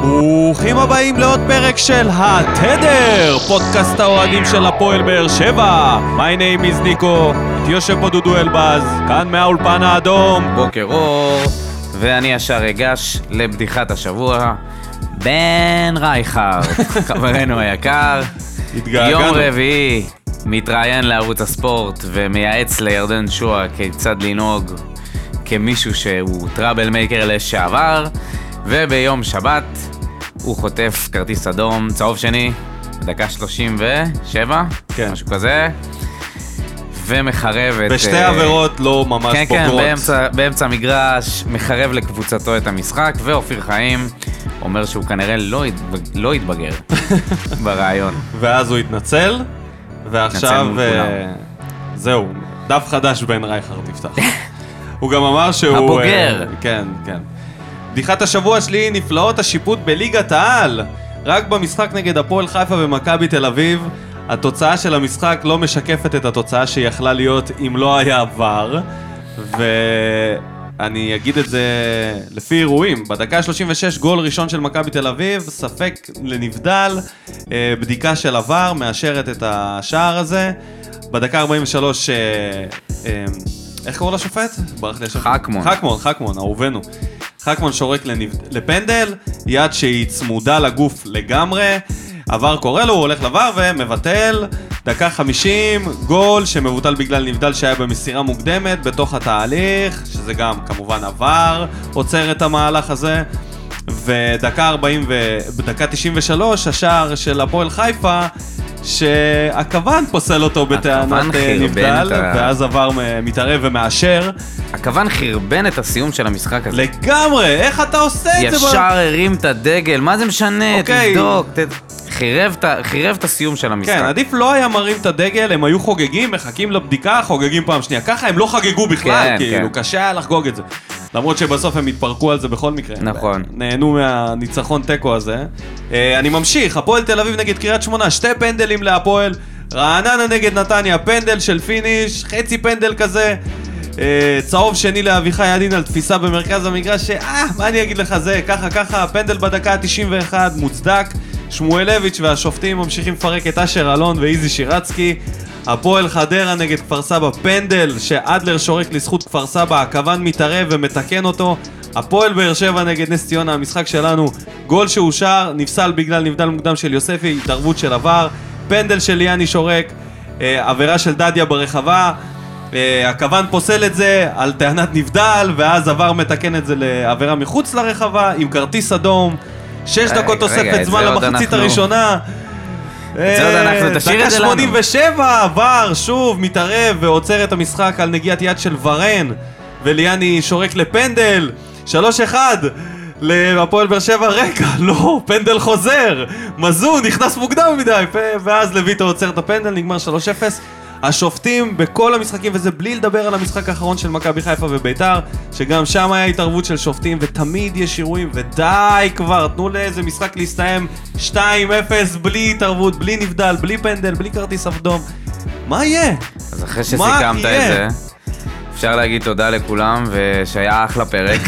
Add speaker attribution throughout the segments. Speaker 1: ברוכים הבאים לעוד פרק של התדר, פודקאסט האוהדים של הפועל באר שבע. My name is ניקו, איתי יושב פה דודו אלבז, כאן מהאולפן האדום.
Speaker 2: בוקר אור, ואני ישר אגש לבדיחת השבוע. בן רייכר, חברנו היקר,
Speaker 1: התגעגענו.
Speaker 2: יום רביעי, מתראיין לערוץ הספורט ומייעץ לירדן שואה כיצד לנהוג כמישהו שהוא טראבל מייקר לשעבר, וביום שבת הוא חוטף כרטיס אדום, צהוב שני, בדקה 37,
Speaker 1: כן.
Speaker 2: משהו כזה, ומחרב את...
Speaker 1: בשתי
Speaker 2: אה,
Speaker 1: עבירות לא ממש
Speaker 2: כן, כן,
Speaker 1: בוגרות.
Speaker 2: באמצע, באמצע המגרש, מחרב לקבוצתו את המשחק, ואופיר חיים אומר שהוא כנראה לא, התבג... לא התבגר ברעיון.
Speaker 1: ואז הוא התנצל, ועכשיו...
Speaker 2: מול
Speaker 1: אה, זהו, דף חדש בן רייכר תפתח. הוא גם אמר שהוא...
Speaker 2: הבוגר.
Speaker 1: אה, כן, כן. בדיחת השבוע שלי היא נפלאות השיפוט בליגת העל. רק במשחק נגד הפועל חיפה ומכבי תל אביב, התוצאה של המשחק לא משקפת את התוצאה שיכלה להיות אם לא היה עבר. ואני אגיד את זה לפי אירועים. בדקה ה-36 גול ראשון של מכבי תל אביב, ספק לנבדל, אה, בדיקה של עבר מאשרת את השער הזה. בדקה 43, אה, אה, איך קורא לשופט? ברח לי השם.
Speaker 2: חכמון.
Speaker 1: חכמון, חכמון, אהובנו. חכמון שורק לניב... לפנדל, יד שהיא צמודה לגוף לגמרי. עבר קורא לו, הוא הולך לבר ומבטל. דקה 50, גול שמבוטל בגלל נבדל שהיה במסירה מוקדמת בתוך התהליך, שזה גם כמובן עבר, עוצר את המהלך הזה. ודקה 40 ו... בדקה 93, השער של הפועל חיפה, שהכוון פוסל אותו בטענת אה,
Speaker 2: חרבן
Speaker 1: נבדל,
Speaker 2: את ה-
Speaker 1: ואז עבר מ- מתערב ומאשר.
Speaker 2: הכוון חרבן את הסיום של המשחק הזה.
Speaker 1: לגמרי, איך אתה עושה את זה?
Speaker 2: ישר הרים את הדגל, מה זה משנה?
Speaker 1: אוקיי.
Speaker 2: תבדוק. ת... חרב, את... ה- חרב את הסיום של המשחק.
Speaker 1: כן, עדיף לא היה מרים את הדגל, הם היו חוגגים, מחכים לבדיקה, חוגגים פעם שנייה. ככה הם לא חגגו בכלל,
Speaker 2: כן,
Speaker 1: כאילו,
Speaker 2: כן.
Speaker 1: קשה היה לחגוג את זה. למרות שבסוף הם התפרקו על זה בכל מקרה.
Speaker 2: נכון.
Speaker 1: נהנו מהניצחון תיקו הזה. אה, אני ממשיך, הפועל תל אביב נגד קריית שמונה, שתי פנדלים להפועל. רעננה נגד נתניה, פנדל של פיניש, חצי פנדל כזה. אה, צהוב שני לאביחי ידין על תפיסה במרכז המגרש, שאה, מה אני אגיד לך זה, ככה ככה, פנדל בדקה ה-91, מוצדק. שמואלביץ' והשופטים ממשיכים לפרק את אשר אלון ואיזי שירצקי. הפועל חדרה נגד כפר סבא פנדל, שאדלר שורק לזכות כפר סבא, הכוון מתערב ומתקן אותו. הפועל באר שבע נגד נס ציונה, המשחק שלנו, גול שאושר, נפסל בגלל נבדל מוקדם של יוספי, התערבות של עבר, פנדל של ליאני שורק, אה, עבירה של דדיה ברחבה, אה, הכוון פוסל את זה על טענת נבדל, ואז עבר מתקן את זה לעבירה מחוץ לרחבה, עם כרטיס אדום, שש
Speaker 2: רגע,
Speaker 1: דקות תוספת
Speaker 2: רגע, את
Speaker 1: זמן
Speaker 2: זה עוד
Speaker 1: למחצית
Speaker 2: אנחנו-
Speaker 1: הראשונה.
Speaker 2: זה עוד אנחנו,
Speaker 1: אה,
Speaker 2: תשאיר את זה לנו.
Speaker 1: דקה 87, עבר, שוב, מתערב ועוצר את המשחק על נגיעת יד של ורן, וליאני שורק לפנדל, 3-1. להפועל באר שבע, רגע, לא, פנדל חוזר, מזון, נכנס מוקדם מדי, פ- ואז לויטה עוצר את הפנדל, נגמר 3-0. השופטים בכל המשחקים, וזה בלי לדבר על המשחק האחרון של מכבי חיפה וביתר, שגם שם היה התערבות של שופטים, ותמיד יש אירועים, ודי כבר, תנו לאיזה משחק להסתיים 2-0 בלי התערבות, בלי נבדל, בלי פנדל, בלי כרטיס אדום. מה יהיה?
Speaker 2: אז
Speaker 1: מה
Speaker 2: אחרי שסיכמת את
Speaker 1: יהיה?
Speaker 2: זה, אפשר להגיד תודה לכולם, ושהיה אחלה פרק.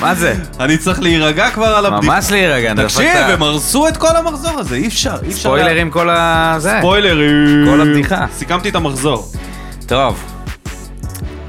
Speaker 2: מה זה?
Speaker 1: אני צריך להירגע כבר על הבדיחה.
Speaker 2: ממש להירגע, דפקת.
Speaker 1: תקשיב, הם הרסו את כל המחזור הזה, אי אפשר, אי אפשר. לה-
Speaker 2: ספוילרים כל ה... זה.
Speaker 1: ספוילרים.
Speaker 2: כל הבדיחה.
Speaker 1: סיכמתי את המחזור.
Speaker 2: טוב.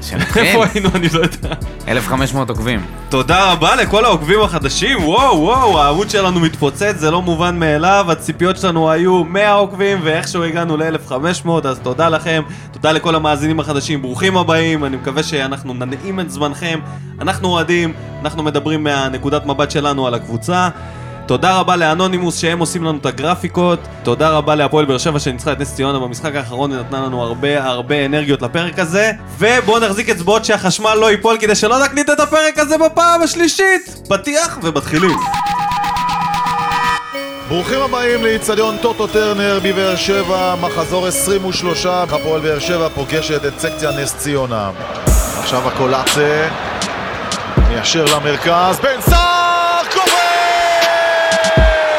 Speaker 2: שנתחיל.
Speaker 1: איפה היינו, אני לא יודע.
Speaker 2: 1,500 עוקבים.
Speaker 1: תודה רבה לכל העוקבים החדשים, וואו וואו, העמוד שלנו מתפוצץ, זה לא מובן מאליו, הציפיות שלנו היו 100 עוקבים ואיכשהו הגענו ל-1500, אז תודה לכם, תודה לכל המאזינים החדשים, ברוכים הבאים, אני מקווה שאנחנו ננעים את זמנכם, אנחנו אוהדים, אנחנו מדברים מהנקודת מבט שלנו על הקבוצה. תודה רבה לאנונימוס שהם עושים לנו את הגרפיקות, תודה רבה להפועל באר שבע שניצחה את נס ציונה במשחק האחרון ונתנה לנו הרבה הרבה אנרגיות לפרק הזה ובואו נחזיק אצבעות שהחשמל לא ייפול כדי שלא נקליט את הפרק הזה בפעם השלישית! פתיח ומתחילים.
Speaker 3: ברוכים הבאים לאיצטדיון טוטו טרנר בבאר שבע, מחזור 23, הפועל באר שבע פוגשת את סקציה נס ציונה. עכשיו הקולאצה, מיישר למרכז, בן סער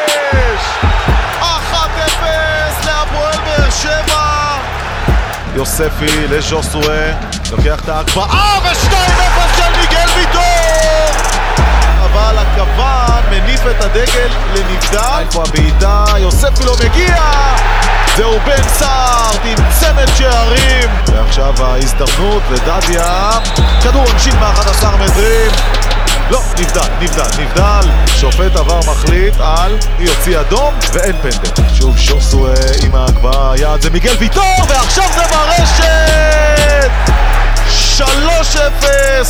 Speaker 3: כובש! 1-0 להפועל באר שבע! יוספי לז'וסווה, לוקח את ההקפאה ו-2-0 של מיגל ויטור! אבל הכוון מניף את הדגל בעיטה, איפה הבעיטה? יוספי לא מגיע! זהו בן סער עם צמד שערים! ועכשיו ההזדמנות לדדיה, כדור עונשין מ-11 מטרים. לא, נבדל, נבדל, נבדל. שופט עבר מחליט על יוציא אדום ואין פנדל. שוב שוסו אה, עם ההגבהה, יעד זה מיגל ויטור, ועכשיו זה ברשת! 3-0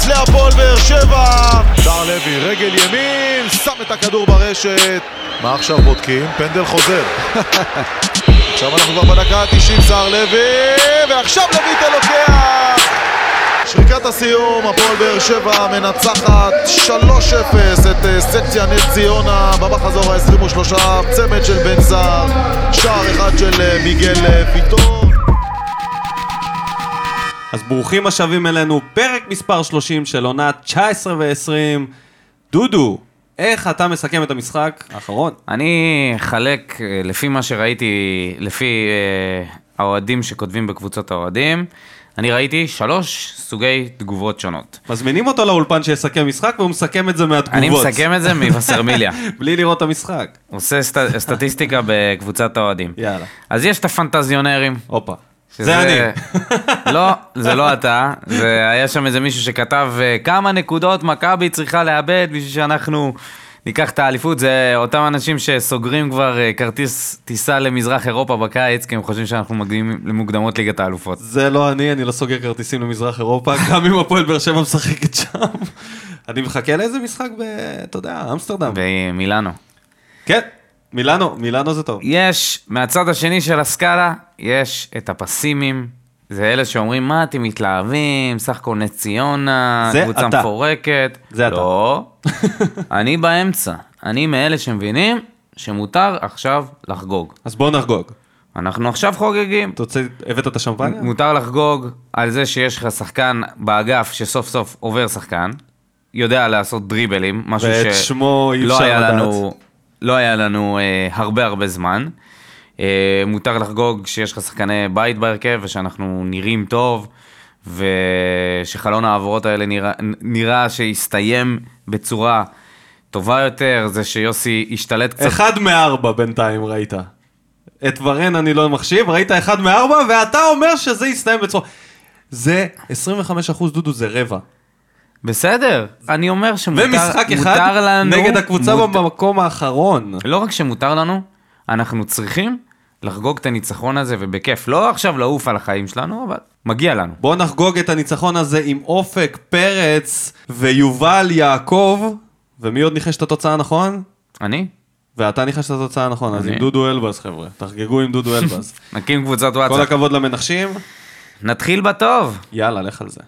Speaker 3: להפועל באר שבע! דר לוי, רגל ימין, שם את הכדור ברשת. מה עכשיו בודקים? פנדל חוזר. עכשיו אנחנו כבר בדקה ה-90, סער לוי, ועכשיו לויטה לוקח! שריקת הסיום, הפועל באר שבע מנצחת 3-0 את אה, סקציה נס ציונה במחזור ה-23, צמד של בן זר, שער אחד של אה, מיגל אה, ויטור.
Speaker 1: אז ברוכים השבים אלינו, פרק מספר 30 של עונה 19 ו-20. דודו, איך אתה מסכם את המשחק האחרון?
Speaker 2: אני אחלק אה, לפי מה שראיתי, לפי אה, האוהדים שכותבים בקבוצות האוהדים, אני ראיתי שלוש סוגי תגובות שונות.
Speaker 1: מזמינים אותו לאולפן שיסכם משחק והוא מסכם את זה
Speaker 2: אני
Speaker 1: מהתגובות.
Speaker 2: מסכם את זה מווסרמיליה.
Speaker 1: בלי לראות את המשחק.
Speaker 2: הוא עושה סט- סטטיסטיקה בקבוצת האוהדים.
Speaker 1: יאללה.
Speaker 2: אז יש את הפנטזיונרים.
Speaker 1: הופה.
Speaker 2: שזה-
Speaker 1: זה אני.
Speaker 2: לא, זה לא אתה, זה היה שם איזה מישהו שכתב אה, כמה נקודות מכבי צריכה לאבד בשביל שאנחנו ניקח את האליפות, זה אותם אנשים שסוגרים כבר אה, כרטיס טיסה למזרח אירופה בקיץ, כי הם חושבים שאנחנו מגיעים למוקדמות ליגת האלופות.
Speaker 1: זה לא אני, אני לא סוגר כרטיסים למזרח אירופה, גם אם הפועל באר שבע משחקת שם. אני מחכה לאיזה משחק ב... אתה יודע, אמסטרדם.
Speaker 2: במילאנו.
Speaker 1: כן, מילאנו, מילאנו זה טוב.
Speaker 2: יש, מהצד השני של הסקאלה, יש את הפסימים. זה אלה שאומרים, מה אתם מתלהבים, סך הכל נס ציונה,
Speaker 1: זה
Speaker 2: קבוצה
Speaker 1: אתה.
Speaker 2: מפורקת.
Speaker 1: זה אתה.
Speaker 2: לא, אני באמצע. אני מאלה שמבינים שמותר עכשיו לחגוג.
Speaker 1: אז בואו נחגוג.
Speaker 2: אנחנו עכשיו חוגגים.
Speaker 1: אתה רוצה, הבאת את השמפניה?
Speaker 2: מותר לחגוג על זה שיש לך שחקן באגף שסוף סוף עובר שחקן, יודע לעשות דריבלים, משהו
Speaker 1: ואת
Speaker 2: ש-
Speaker 1: שמו אי
Speaker 2: לא
Speaker 1: אפשר
Speaker 2: היה
Speaker 1: לדעת.
Speaker 2: לנו, לא היה לנו אה, הרבה הרבה זמן. אה, מותר לחגוג שיש לך שחקני בית בהרכב ושאנחנו נראים טוב, ושחלון העברות האלה נראה, נראה שהסתיים בצורה טובה יותר, זה שיוסי השתלט קצת
Speaker 1: אחד מארבע בינתיים ראית. את ורן אני לא מחשיב, ראית אחד מארבע, ואתה אומר שזה יסתיים בצורה... זה 25% דודו, זה רבע.
Speaker 2: בסדר, אני אומר שמותר
Speaker 1: ומשחק אחד
Speaker 2: מותר לנו,
Speaker 1: נגד הקבוצה
Speaker 2: מות-
Speaker 1: במקום האחרון.
Speaker 2: לא רק שמותר לנו, אנחנו צריכים לחגוג את הניצחון הזה ובכיף. לא עכשיו לעוף על החיים שלנו, אבל מגיע לנו.
Speaker 1: בואו נחגוג את הניצחון הזה עם אופק, פרץ ויובל יעקב, ומי עוד ניחש את התוצאה נכון?
Speaker 2: אני?
Speaker 1: ואתה ניחש את התוצאה נכון, אז
Speaker 2: אני.
Speaker 1: עם דודו אלבז חבר'ה, תחגגו עם דודו אלבז.
Speaker 2: נקים קבוצת
Speaker 1: כל
Speaker 2: וואטסאפ.
Speaker 1: הכבוד למנחשים,
Speaker 2: נתחיל בטוב.
Speaker 1: יאללה, לך על זה.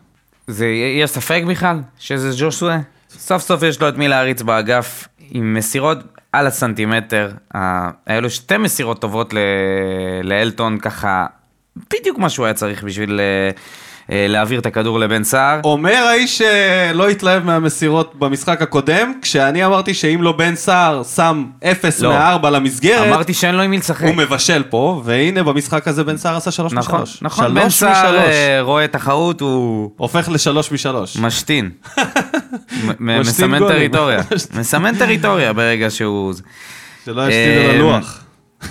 Speaker 2: זה, יש ספק בכלל שזה ג'וסווה? סוף סוף יש לו את מי להריץ באגף עם מסירות על הסנטימטר. אה, היה לו שתי מסירות טובות ל... לאלטון, ככה בדיוק מה שהוא היה צריך בשביל אה, אה, להעביר את הכדור לבן סער.
Speaker 1: אומר האיש שלא התלהב מהמסירות במשחק הקודם, כשאני אמרתי שאם לא בן סער שם 0
Speaker 2: לא.
Speaker 1: מ-4 למסגרת,
Speaker 2: אמרתי שאין לו עם מי לשחק.
Speaker 1: הוא מבשל פה, והנה במשחק הזה בן סער עשה 3 מ-3.
Speaker 2: נכון, נכון, בן סער אה, רואה תחרות, הוא
Speaker 1: הופך ל-3 מ-3.
Speaker 2: משתין. מ-
Speaker 1: משתין
Speaker 2: מ- מסמן
Speaker 1: גולים.
Speaker 2: טריטוריה, מסמן טריטוריה ברגע שהוא... זה.
Speaker 1: שלא ישתין
Speaker 2: אה,
Speaker 1: על הלוח.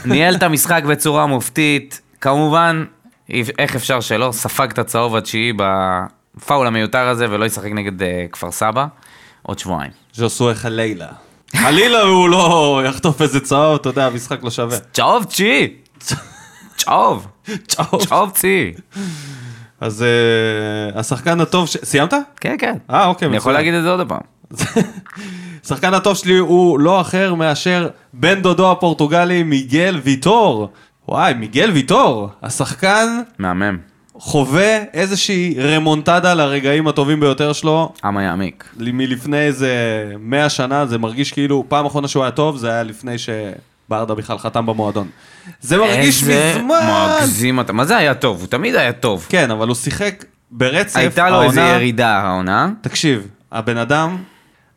Speaker 2: ניהל את המשחק בצורה מופתית, כמובן, אי- איך אפשר שלא, ספג את הצהוב התשיעי בפאול המיותר הזה ולא ישחק נגד אה, כפר סבא עוד שבועיים.
Speaker 1: ז'וסוי חלילה. חלילה הוא לא יחטוף איזה צהוב, אתה יודע, המשחק לא שווה.
Speaker 2: צהוב תשיעי! צהוב!
Speaker 1: צהוב.
Speaker 2: צהוב תשיעי!
Speaker 1: אז אה, השחקן הטוב, ש- סיימת?
Speaker 2: כן, כן.
Speaker 1: אה, אוקיי,
Speaker 2: אני יכול
Speaker 1: מצוין.
Speaker 2: להגיד את זה עוד פעם.
Speaker 1: השחקן הטוב שלי הוא לא אחר מאשר בן דודו הפורטוגלי מיגל ויטור. וואי, מיגל ויטור, השחקן
Speaker 2: מהמם.
Speaker 1: חווה איזושהי רמונטדה לרגעים הטובים ביותר שלו
Speaker 2: עמה יעמיק.
Speaker 1: מלפני איזה 100 שנה, זה מרגיש כאילו פעם אחרונה שהוא היה טוב, זה היה לפני שברדה בכלל חתם במועדון. זה מרגיש
Speaker 2: איזה
Speaker 1: מזמן!
Speaker 2: מגזים אתה. מה זה היה טוב? הוא תמיד היה טוב.
Speaker 1: כן, אבל הוא שיחק ברצף.
Speaker 2: הייתה לו
Speaker 1: העונה-
Speaker 2: איזה ירידה העונה.
Speaker 1: תקשיב, הבן אדם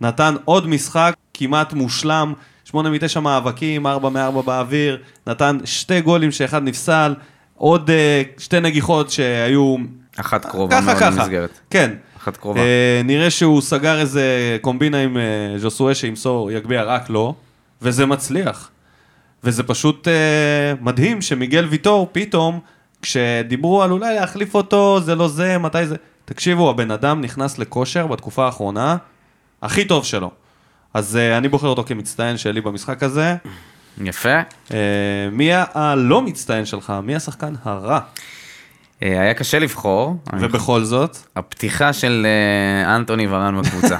Speaker 1: נתן עוד משחק כמעט מושלם, 8 מ-9 מאבקים, 4 מ-4 באוויר, נתן שתי גולים שאחד נפסל, עוד אה, שתי נגיחות שהיו...
Speaker 2: אחת קרובה
Speaker 1: ככה
Speaker 2: מאוד
Speaker 1: ככה.
Speaker 2: למסגרת.
Speaker 1: כן.
Speaker 2: אחת קרובה.
Speaker 1: אה, נראה שהוא סגר איזה קומבינה עם אה, ז'וסואה שימסור, יגביה רק לו, וזה מצליח. וזה פשוט אה, מדהים שמיגל ויטור פתאום, כשדיברו על אולי להחליף אותו, זה לא זה, מתי זה... תקשיבו, הבן אדם נכנס לכושר בתקופה האחרונה, הכי טוב שלו. אז אה, אני בוחר אותו כמצטיין שלי במשחק הזה.
Speaker 2: יפה.
Speaker 1: אה, מי הלא מצטיין שלך? מי השחקן הרע?
Speaker 2: אה, היה קשה לבחור.
Speaker 1: ובכל זאת,
Speaker 2: הפתיחה של אה, אנטוני ורן בקבוצה.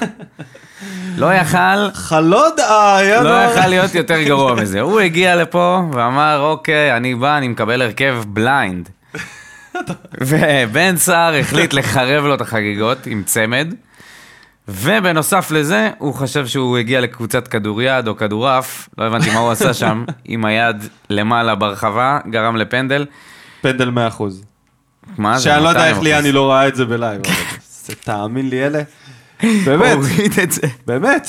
Speaker 2: לא יכל,
Speaker 1: חלודה, היה
Speaker 2: לא
Speaker 1: נורא.
Speaker 2: יכל להיות יותר גרוע מזה. הוא הגיע לפה ואמר, אוקיי, אני בא, אני מקבל הרכב בליינד. ובן סער החליט לחרב לו את החגיגות עם צמד, ובנוסף לזה, הוא חשב שהוא הגיע לקבוצת כדוריד או כדורעף, לא הבנתי מה הוא עשה שם, עם היד למעלה ברחבה, גרם לפנדל.
Speaker 1: פנדל 100%.
Speaker 2: מה אה, זה?
Speaker 1: שאני לא יודע
Speaker 2: 200%.
Speaker 1: איך ליאני לא ראה את זה בלייב. אבל זה- תאמין לי, אלה. לא באמת,
Speaker 2: הוריד את זה.
Speaker 1: באמת.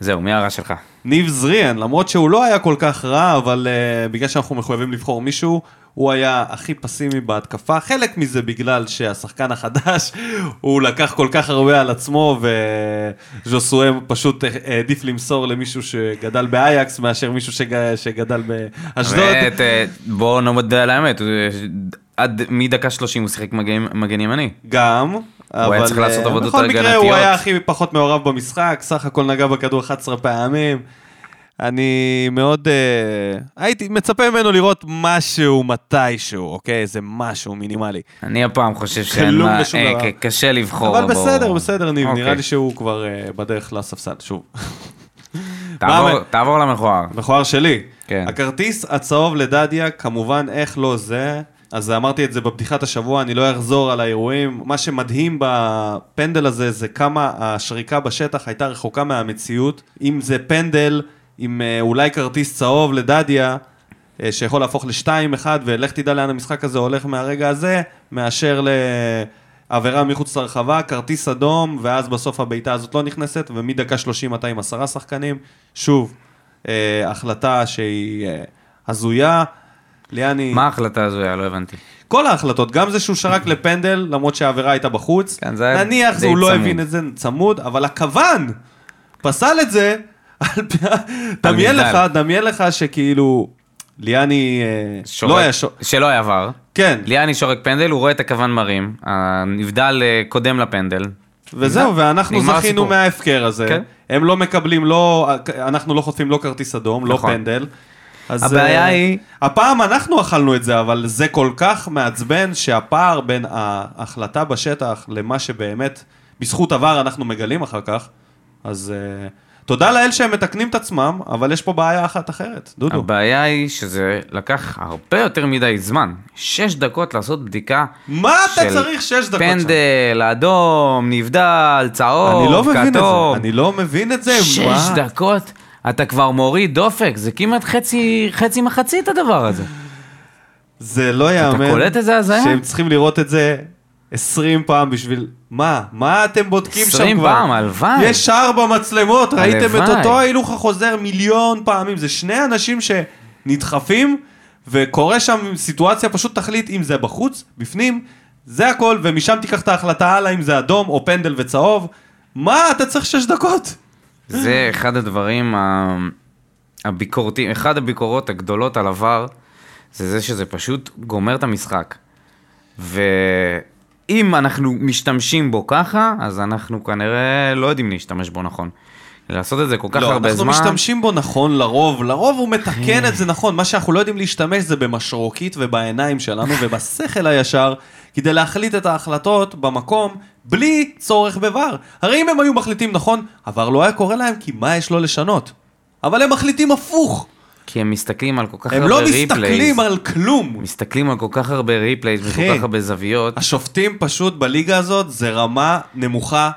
Speaker 2: זהו, מי הרע שלך?
Speaker 1: ניב זריאן, למרות שהוא לא היה כל כך רע, אבל uh, בגלל שאנחנו מחויבים לבחור מישהו, הוא היה הכי פסימי בהתקפה. חלק מזה בגלל שהשחקן החדש, הוא לקח כל כך הרבה על עצמו, וז'וסואה פשוט אה, העדיף למסור למישהו שגדל באייקס, מאשר מישהו שג... שגדל באשדוד.
Speaker 2: באמת, אה, בואו נודה על האמת, הוא, אה, עד מדקה 30 הוא שיחק מגן מגן ימני.
Speaker 1: גם. אבל
Speaker 2: היה צריך לעשות
Speaker 1: אה,
Speaker 2: עבודות
Speaker 1: בכל מקרה הוא
Speaker 2: הגנתיות.
Speaker 1: היה הכי פחות מעורב במשחק, סך הכל נגע בכדור 11 פעמים. אני מאוד... אה, הייתי מצפה ממנו לראות משהו מתישהו, אוקיי? איזה משהו מינימלי.
Speaker 2: אני הפעם חושב שאין
Speaker 1: כלום
Speaker 2: מה,
Speaker 1: ושום
Speaker 2: אה,
Speaker 1: דבר.
Speaker 2: ק- קשה לבחור.
Speaker 1: אבל
Speaker 2: בואו.
Speaker 1: בסדר, בסדר, ניב, נראה
Speaker 2: אוקיי.
Speaker 1: לי שהוא כבר אה, בדרך לספסל, שוב.
Speaker 2: תעבור-
Speaker 1: מה- לא,
Speaker 2: תעבור למכוער.
Speaker 1: מכוער שלי.
Speaker 2: כן.
Speaker 1: הכרטיס הצהוב לדדיה, כמובן, איך לא זה. אז אמרתי את זה בפתיחת השבוע, אני לא אחזור על האירועים. מה שמדהים בפנדל הזה זה כמה השריקה בשטח הייתה רחוקה מהמציאות. אם זה פנדל עם אה, אולי כרטיס צהוב לדדיה, אה, שיכול להפוך ל-2-1, ולך תדע לאן המשחק הזה הולך מהרגע הזה, מאשר לעבירה מחוץ לרחבה, כרטיס אדום, ואז בסוף הבעיטה הזאת לא נכנסת, ומדקה 30 אתה עם עשרה שחקנים. שוב, אה, החלטה שהיא אה, הזויה. ליאני,
Speaker 2: מה ההחלטה הזו היה? לא הבנתי.
Speaker 1: כל ההחלטות, גם זה שהוא שרק לפנדל, למרות שהעבירה הייתה בחוץ,
Speaker 2: כן, זה היה
Speaker 1: נניח
Speaker 2: די
Speaker 1: הוא לא
Speaker 2: צמוד.
Speaker 1: הבין את זה צמוד, אבל הכוון פסל את זה, על פי ה- דמיין לך,
Speaker 2: נבדל.
Speaker 1: דמיין לך שכאילו, ליאני אה,
Speaker 2: שורק-
Speaker 1: לא היה שור...
Speaker 2: שלא היה עבר.
Speaker 1: כן,
Speaker 2: ליאני שורק פנדל, הוא רואה את הכוון מרים, הנבדל אה, קודם לפנדל.
Speaker 1: וזהו, ואנחנו
Speaker 2: נגמר
Speaker 1: זכינו
Speaker 2: הסיפור.
Speaker 1: מההפקר הזה.
Speaker 2: כן.
Speaker 1: הם לא מקבלים, לא, אנחנו לא חוטפים לא כרטיס אדום, לא
Speaker 2: נכון.
Speaker 1: פנדל. אז,
Speaker 2: הבעיה
Speaker 1: אה,
Speaker 2: היא-
Speaker 1: הפעם אנחנו אכלנו את זה, אבל זה כל כך מעצבן שהפער בין ההחלטה בשטח למה שבאמת, בזכות עבר אנחנו מגלים אחר כך, אז אה, תודה לאל שהם מתקנים את עצמם, אבל יש פה בעיה אחת אחרת, דודו.
Speaker 2: הבעיה היא שזה לקח הרבה יותר מדי זמן. שש דקות לעשות בדיקה.
Speaker 1: מה אתה
Speaker 2: של
Speaker 1: צריך שש דקות שם?
Speaker 2: פנדל, אדום, נבדל, צהוב,
Speaker 1: אני
Speaker 2: כתום.
Speaker 1: לא מבין את זה, אני לא מבין את זה.
Speaker 2: שש
Speaker 1: מה?
Speaker 2: דקות, אתה כבר מוריד דופק, זה כמעט חצי, חצי מחצית הדבר הזה.
Speaker 1: זה לא ייאמן.
Speaker 2: קולט איזה הזיה?
Speaker 1: שהם צריכים לראות את זה 20 פעם בשביל... מה? מה אתם בודקים שם כבר?
Speaker 2: 20 פעם, הלוואי.
Speaker 1: יש שער במצלמות, ראיתם את
Speaker 2: הלוואי.
Speaker 1: אותו ההילוך החוזר מיליון פעמים. זה שני אנשים שנדחפים, וקורה שם סיטואציה, פשוט תחליט אם זה בחוץ, בפנים, זה הכל, ומשם תיקח את ההחלטה הלאה אם זה אדום או פנדל וצהוב. מה? אתה צריך שש דקות.
Speaker 2: זה אחד הדברים ה- הביקורתיים, אחד הביקורות הגדולות על עבר, זה זה שזה פשוט גומר את המשחק. ואם אנחנו משתמשים בו ככה, אז אנחנו כנראה לא יודעים להשתמש בו נכון. לעשות את זה כל כך
Speaker 1: לא,
Speaker 2: הרבה זמן, כן.
Speaker 1: אנחנו משתמשים בו נכון לרוב, לרוב הוא מתקן את זה נכון, מה שאנחנו לא יודעים להשתמש זה במשרוקית ובעיניים שלנו ובשכל הישר, כדי להחליט את ההחלטות במקום בלי צורך בVAR. הרי אם הם היו מחליטים נכון, עבר לא היה קורה להם כי מה יש לו לשנות? אבל הם מחליטים הפוך,
Speaker 2: כי הם מסתכלים על כל כך
Speaker 1: הם
Speaker 2: הרבה
Speaker 1: לא
Speaker 2: ריפלייז.
Speaker 1: מסתכלים על כלום.
Speaker 2: מסתכלים על כל כך הרבה ריפלייז וכל
Speaker 1: אחי.
Speaker 2: כך הרבה זוויות,
Speaker 1: השופטים פשוט בליגה הזאת זה רמה נמוכה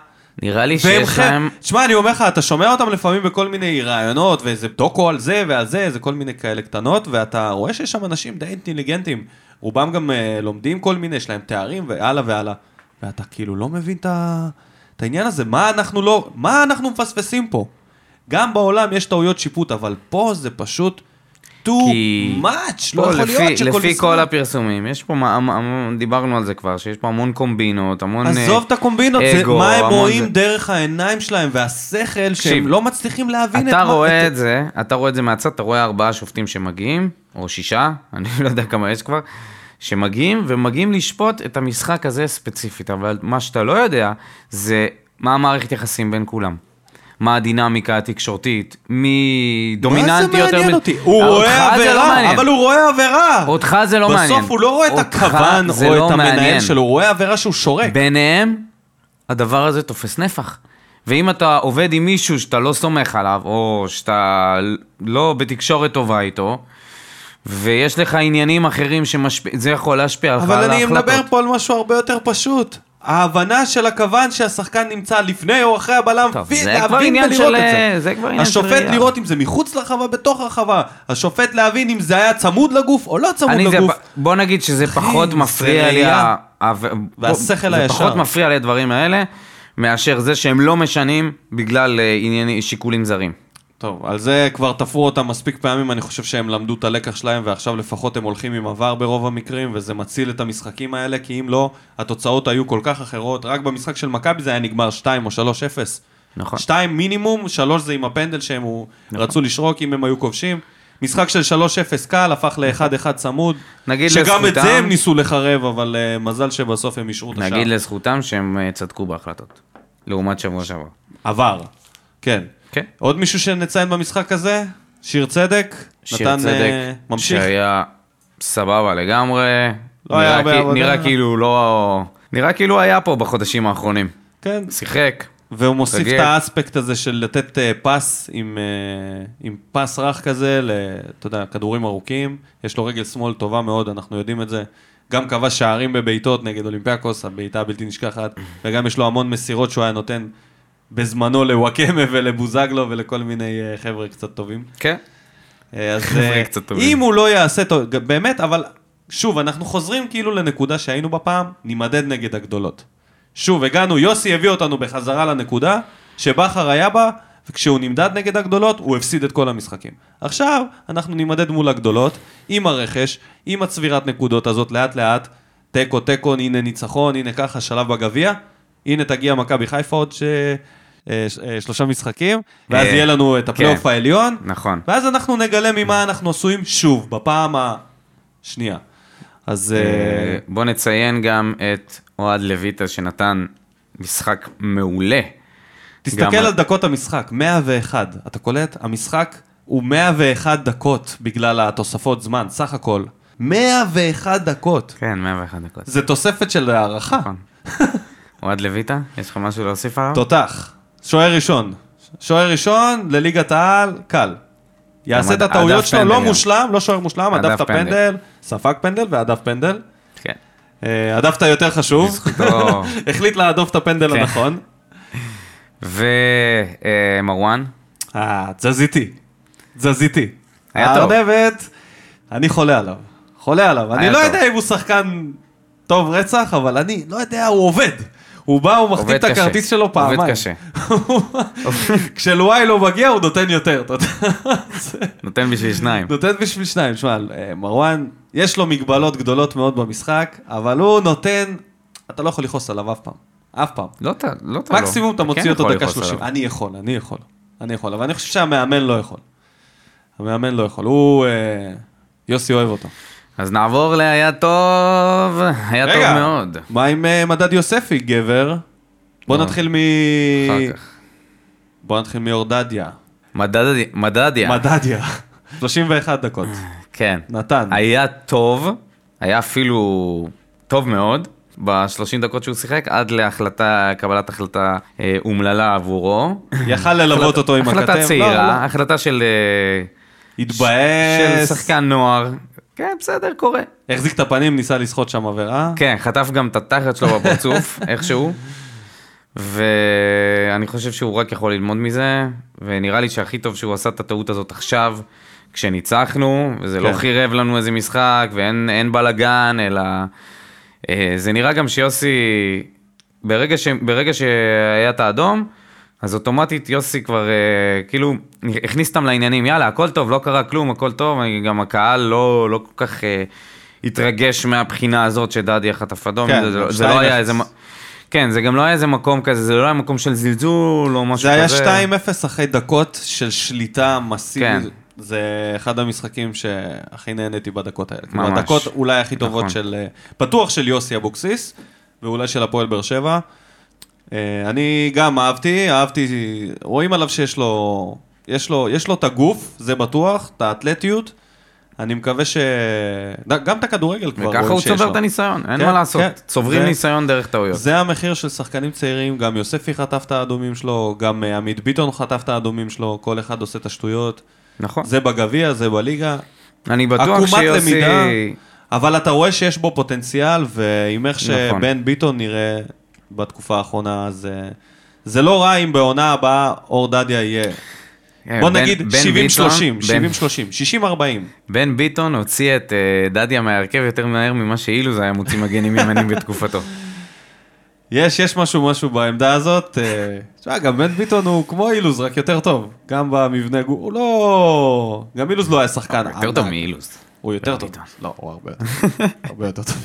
Speaker 2: נראה לי
Speaker 1: והם
Speaker 2: שיש
Speaker 1: חלק,
Speaker 2: להם...
Speaker 1: תשמע, אני אומר לך, אתה שומע אותם לפעמים בכל מיני רעיונות, ואיזה דוקו על זה ועל זה, איזה כל מיני כאלה קטנות, ואתה רואה שיש שם אנשים די אינטליגנטים. רובם גם אה, לומדים כל מיני, יש להם תארים, והלאה והלאה. ואתה כאילו לא מבין את ה- את העניין הזה, מה אנחנו לא, מה אנחנו מפספסים פה? גם בעולם יש טעויות שיפוט, אבל פה זה פשוט too
Speaker 2: כי-
Speaker 1: much, לא
Speaker 2: פה
Speaker 1: יכול
Speaker 2: לפי-
Speaker 1: להיות שכל
Speaker 2: לפי כל
Speaker 1: משחק...
Speaker 2: הפרסומים, יש פה, מה- המ- המון- דיברנו על זה כבר, שיש פה המון קומבינות, המון... אה,
Speaker 1: עזוב את הקומבינות, זה
Speaker 2: אגו,
Speaker 1: מה הם
Speaker 2: המון
Speaker 1: רואים
Speaker 2: זה.
Speaker 1: דרך העיניים שלהם והשכל שהם
Speaker 2: תקשיב,
Speaker 1: לא מצליחים להבין את
Speaker 2: אתה
Speaker 1: מה...
Speaker 2: רואה
Speaker 1: את-
Speaker 2: את זה, אתה רואה את זה מהצד, אתה רואה ארבעה שופטים שמגיעים, או שישה, אני לא יודע כמה יש כבר, שמגיעים ומגיעים לשפוט את המשחק הזה ספציפית, אבל מה שאתה לא יודע זה מה המערכת יחסים בין כולם. מה הדינמיקה התקשורתית, מי
Speaker 1: מה זה
Speaker 2: דומיננטי יותר...
Speaker 1: מעניין
Speaker 2: מ-
Speaker 1: אותי? הוא
Speaker 2: אותך
Speaker 1: רואה
Speaker 2: זה לא
Speaker 1: עבירה,
Speaker 2: מעניין.
Speaker 1: אבל הוא רואה עבירה.
Speaker 2: אותך זה לא מעניין.
Speaker 1: בסוף הוא לא רואה את
Speaker 2: אותך
Speaker 1: הכוון
Speaker 2: זה
Speaker 1: או
Speaker 2: לא
Speaker 1: את המנהל
Speaker 2: מעניין.
Speaker 1: שלו, הוא רואה עבירה שהוא שורק.
Speaker 2: ביניהם, הדבר הזה תופס נפח. ואם אתה עובד עם מישהו שאתה לא סומך עליו, או שאתה לא בתקשורת טובה איתו, ויש לך עניינים אחרים שמשפיע, זה יכול להשפיע עליך על
Speaker 1: אבל
Speaker 2: ההחלטות.
Speaker 1: אני מדבר פה על משהו הרבה יותר פשוט. ההבנה של הכוון שהשחקן נמצא לפני או אחרי הבלם,
Speaker 2: טוב,
Speaker 1: ו-
Speaker 2: זה
Speaker 1: להבין
Speaker 2: כבר עניין
Speaker 1: ולראות
Speaker 2: של,
Speaker 1: את
Speaker 2: אה, זה כבר עניין של
Speaker 1: השופט
Speaker 2: ראייה.
Speaker 1: לראות אם זה מחוץ לרחבה, בתוך הרחבה. השופט להבין אם זה היה צמוד לגוף או לא צמוד
Speaker 2: אני זה,
Speaker 1: לגוף.
Speaker 2: פ- בוא נגיד שזה
Speaker 1: אחי,
Speaker 2: פחות
Speaker 1: זה
Speaker 2: מפריע לי,
Speaker 1: ראייה.
Speaker 2: ה- ה-
Speaker 1: והשכל
Speaker 2: זה
Speaker 1: הישר.
Speaker 2: פחות מפריע לי הדברים האלה, מאשר זה שהם לא משנים בגלל אה, ענייני שיקולים זרים.
Speaker 1: טוב, על זה כבר תפרו אותם מספיק פעמים, אני חושב שהם למדו את הלקח שלהם, ועכשיו לפחות הם הולכים עם עבר ברוב המקרים, וזה מציל את המשחקים האלה, כי אם לא, התוצאות היו כל כך אחרות. רק במשחק של מכבי זה היה נגמר 2 או 3-0.
Speaker 2: נכון.
Speaker 1: 2 מינימום, 3 זה עם הפנדל שהם הוא- רצו לשרוק אם הם היו כובשים. משחק של 3-0 קל, הפך ל-1-1 צמוד.
Speaker 2: נגיד
Speaker 1: שגם את
Speaker 2: לזכותם-
Speaker 1: זה הם ניסו לחרב, אבל אה, מזל שבסוף הם אישרו את השער.
Speaker 2: נגיד לזכותם שהם אה, צדקו בהחלטות, לעומת שבוע שעבר.
Speaker 1: עבר. כן.
Speaker 2: כן.
Speaker 1: עוד מישהו שנציין במשחק הזה? שיר צדק?
Speaker 2: שיר
Speaker 1: נתן,
Speaker 2: צדק,
Speaker 1: אה, ממשיך.
Speaker 2: שהיה סבבה לגמרי,
Speaker 1: לא היה
Speaker 2: נראה,
Speaker 1: הרבה
Speaker 2: כי,
Speaker 1: עבודה.
Speaker 2: נראה כאילו לא... נראה כאילו היה פה בחודשים האחרונים.
Speaker 1: כן.
Speaker 2: שיחק,
Speaker 1: והוא מוסיף
Speaker 2: תגיד.
Speaker 1: את האספקט הזה של לתת אה, פס עם, אה, עם פס רך כזה, ל- אתה יודע, כדורים ארוכים. יש לו רגל שמאל טובה מאוד, אנחנו יודעים את זה. גם כבש שערים בבעיטות נגד אולימפיאקוס, הבעיטה הבלתי נשכחת, וגם יש לו המון מסירות שהוא היה נותן בזמנו לוואקמה ולבוזגלו ולכל מיני אה, חבר'ה קצת טובים.
Speaker 2: כן.
Speaker 1: אה, אז
Speaker 2: חבר'ה
Speaker 1: אה,
Speaker 2: קצת טובים.
Speaker 1: אם הוא לא יעשה טוב, ג- באמת, אבל שוב, אנחנו חוזרים כאילו לנקודה שהיינו בה פעם, נימדד נגד הגדולות. שוב, הגענו, יוסי הביא אותנו בחזרה לנקודה שבכר היה בה, וכשהוא נמדד נגד הגדולות, הוא הפסיד את כל המשחקים. עכשיו, אנחנו נימדד מול הגדולות, עם הרכש, עם הצבירת נקודות הזאת, לאט-לאט, תיקו, תיקו, הנה ניצחון, הנה ככה, שלב בגביע, הנה תגיע מכבי חיפה עוד ש... אה, ש- אה, שלושה משחקים, ואז
Speaker 2: אה,
Speaker 1: יהיה לנו את הפלייאוף
Speaker 2: כן.
Speaker 1: העליון,
Speaker 2: נכון.
Speaker 1: ואז אנחנו נגלה ממה אנחנו עשויים שוב, בפעם השנייה. אז אה,
Speaker 2: אה, בוא נציין גם את אוהד לויטה שנתן משחק מעולה.
Speaker 1: תסתכל
Speaker 2: גם-
Speaker 1: על דקות המשחק, 101, אתה קולט? המשחק הוא 101 דקות בגלל התוספות זמן, סך הכל. 101 דקות.
Speaker 2: כן, 101 דקות.
Speaker 1: זה תוספת של הערכה.
Speaker 2: נכון. אוהד לויטה, יש לך משהו להוסיף עליו?
Speaker 1: תותח, שוער ראשון. שוער ראשון לליגת העל, קל. יעשה את
Speaker 2: גם עד-
Speaker 1: הטעויות
Speaker 2: הדף
Speaker 1: שלו,
Speaker 2: פנדל
Speaker 1: לא
Speaker 2: גם.
Speaker 1: מושלם, לא שוער מושלם,
Speaker 2: הדף
Speaker 1: הדף את
Speaker 2: פנדל.
Speaker 1: הפנדל, ספג פנדל והדף פנדל.
Speaker 2: כן.
Speaker 1: אה, הדף את היותר חשוב.
Speaker 2: בזכותו.
Speaker 1: החליט להדוף את הפנדל
Speaker 2: לא. כן.
Speaker 1: הנכון.
Speaker 2: ומרואן,
Speaker 1: אה, תזזיתי. תזזיתי.
Speaker 2: היה טוב.
Speaker 1: הארנבת, אני חולה עליו. חולה עליו. אני
Speaker 2: היה
Speaker 1: לא
Speaker 2: טוב.
Speaker 1: יודע אם הוא שחקן טוב רצח, אבל אני לא יודע, הוא עובד. הוא בא, הוא מחתים
Speaker 2: עובד
Speaker 1: את
Speaker 2: קשה.
Speaker 1: הכרטיס שלו פעמיים.
Speaker 2: עובד קשה.
Speaker 1: כשלואי לא מגיע, הוא נותן יותר. אתה יודע. זה-
Speaker 2: נותן בשביל שניים.
Speaker 1: נותן בשביל שניים. שמע, אה, מרואן, יש לו מגבלות גדולות מאוד במשחק, אבל הוא נותן, אתה לא יכול לכעוס עליו אף פעם. אף פעם.
Speaker 2: לא אתה, לא אתה לא.
Speaker 1: מקסימום אתה
Speaker 2: כן
Speaker 1: מוציא אותו
Speaker 2: יכול
Speaker 1: דקה
Speaker 2: לכעוס
Speaker 1: 30.
Speaker 2: עליו.
Speaker 1: אני יכול, אני יכול. אני יכול, אבל אני חושב שהמאמן לא יכול. המאמן לא יכול. הוא... אה, יוסי אוהב אותו.
Speaker 2: אז נעבור להיה טוב, היה טוב מאוד.
Speaker 1: מה עם אה, מדד יוספי, גבר? בוא נתחיל מ... אה,
Speaker 2: אחר כך.
Speaker 1: בוא נתחיל מאורדדיה.
Speaker 2: מדד- מדדיה,
Speaker 1: מדדיה. 31 דקות.
Speaker 2: כן.
Speaker 1: נתן.
Speaker 2: היה טוב, היה אפילו טוב מאוד, ב-30 דקות שהוא שיחק, עד להחלטה, קבלת החלטה אה, אומללה עבורו.
Speaker 1: יכל ללוות אותו עם הכתף.
Speaker 2: החלטה
Speaker 1: לא,
Speaker 2: צעירה,
Speaker 1: לא.
Speaker 2: החלטה של... אה,
Speaker 1: התבאס.
Speaker 2: של שחקן נוער. כן, בסדר, קורה.
Speaker 1: החזיק את הפנים, ניסה לסחוט שם עבירה.
Speaker 2: כן, חטף גם את התחת שלו בפרצוף, איכשהו. ואני חושב שהוא רק יכול ללמוד מזה, ונראה לי שהכי טוב שהוא עשה את הטעות הזאת עכשיו, כשניצחנו, וזה לא
Speaker 1: כן.
Speaker 2: חירב לנו איזה משחק, ואין אין בלאגן, אלא... אה, זה נראה גם שיוסי, ברגע, ש, ברגע שהיה את האדום, אז אוטומטית יוסי כבר אה, כאילו הכניס אותם לעניינים, יאללה, הכל טוב, לא קרה כלום, הכל טוב, אני- גם הקהל לא, לא כל כך אה, התרגש מהבחינה הזאת שדדיה חטף אדום,
Speaker 1: כן,
Speaker 2: זה, זה, לא- זה
Speaker 1: שתיים
Speaker 2: לא היה
Speaker 1: אפס.
Speaker 2: איזה... מ- כן, זה גם לא היה איזה מקום כזה, זה לא היה מקום של זלזול או משהו
Speaker 1: זה היה
Speaker 2: כזה.
Speaker 1: 2-0 אחרי דקות של שליטה מסיבית.
Speaker 2: כן.
Speaker 1: זה אחד המשחקים שהכי נהניתי בדקות האלה.
Speaker 2: ממש.
Speaker 1: ממש. הדקות אולי הכי טובות
Speaker 2: נכון.
Speaker 1: של... אה, בטוח של יוסי אבוקסיס, ואולי של הפועל באר שבע. אה, אני גם אהבתי, אהבתי... רואים עליו שיש לו... יש לו, יש לו את הגוף, זה בטוח, את האתלטיות. אני מקווה ש... גם את הכדורגל כבר רואים שיש
Speaker 2: וככה
Speaker 1: לו.
Speaker 2: הוא צובר את הניסיון, אין
Speaker 1: כן,
Speaker 2: מה לעשות,
Speaker 1: כן.
Speaker 2: צוברים
Speaker 1: זה-
Speaker 2: ניסיון דרך טעויות.
Speaker 1: זה המחיר של שחקנים צעירים, גם יוספי חטף את האדומים שלו, גם אה, עמית ביטון חטף את האדומים שלו, כל אחד עושה את השטויות.
Speaker 2: נכון.
Speaker 1: זה בגביע, זה בליגה.
Speaker 2: אני בטוח
Speaker 1: עקומת
Speaker 2: שיוסי...
Speaker 1: למידה, אבל אתה רואה שיש בו פוטנציאל, ועם איך
Speaker 2: נכון.
Speaker 1: שבן ביטון נראה בתקופה האחרונה, זה... זה לא רע אם בעונה הבאה אור דדיה יהיה.
Speaker 2: אה,
Speaker 1: בוא
Speaker 2: בן-
Speaker 1: נגיד 70-30,
Speaker 2: בן ביטון-
Speaker 1: 70-30, 60-40.
Speaker 2: בן- בן ביטון הוציא את אה, דדיה מההרכב יותר מהר ממה שאילוז היה מוציא מגנים ימנים בתקופתו.
Speaker 1: יש, יש משהו משהו בעמדה הזאת. אה, תשמע, גם בן ביטון הוא כמו אילוז, רק יותר טוב. גם במבנה גוף, הוא לא... גם אילוז לא היה שחקן.
Speaker 2: יותר
Speaker 1: ענק.
Speaker 2: טוב מאילוז.
Speaker 1: הוא יותר
Speaker 2: בן
Speaker 1: טוב.
Speaker 2: ביטון.
Speaker 1: לא, הוא הרבה יותר הרבה יותר טוב.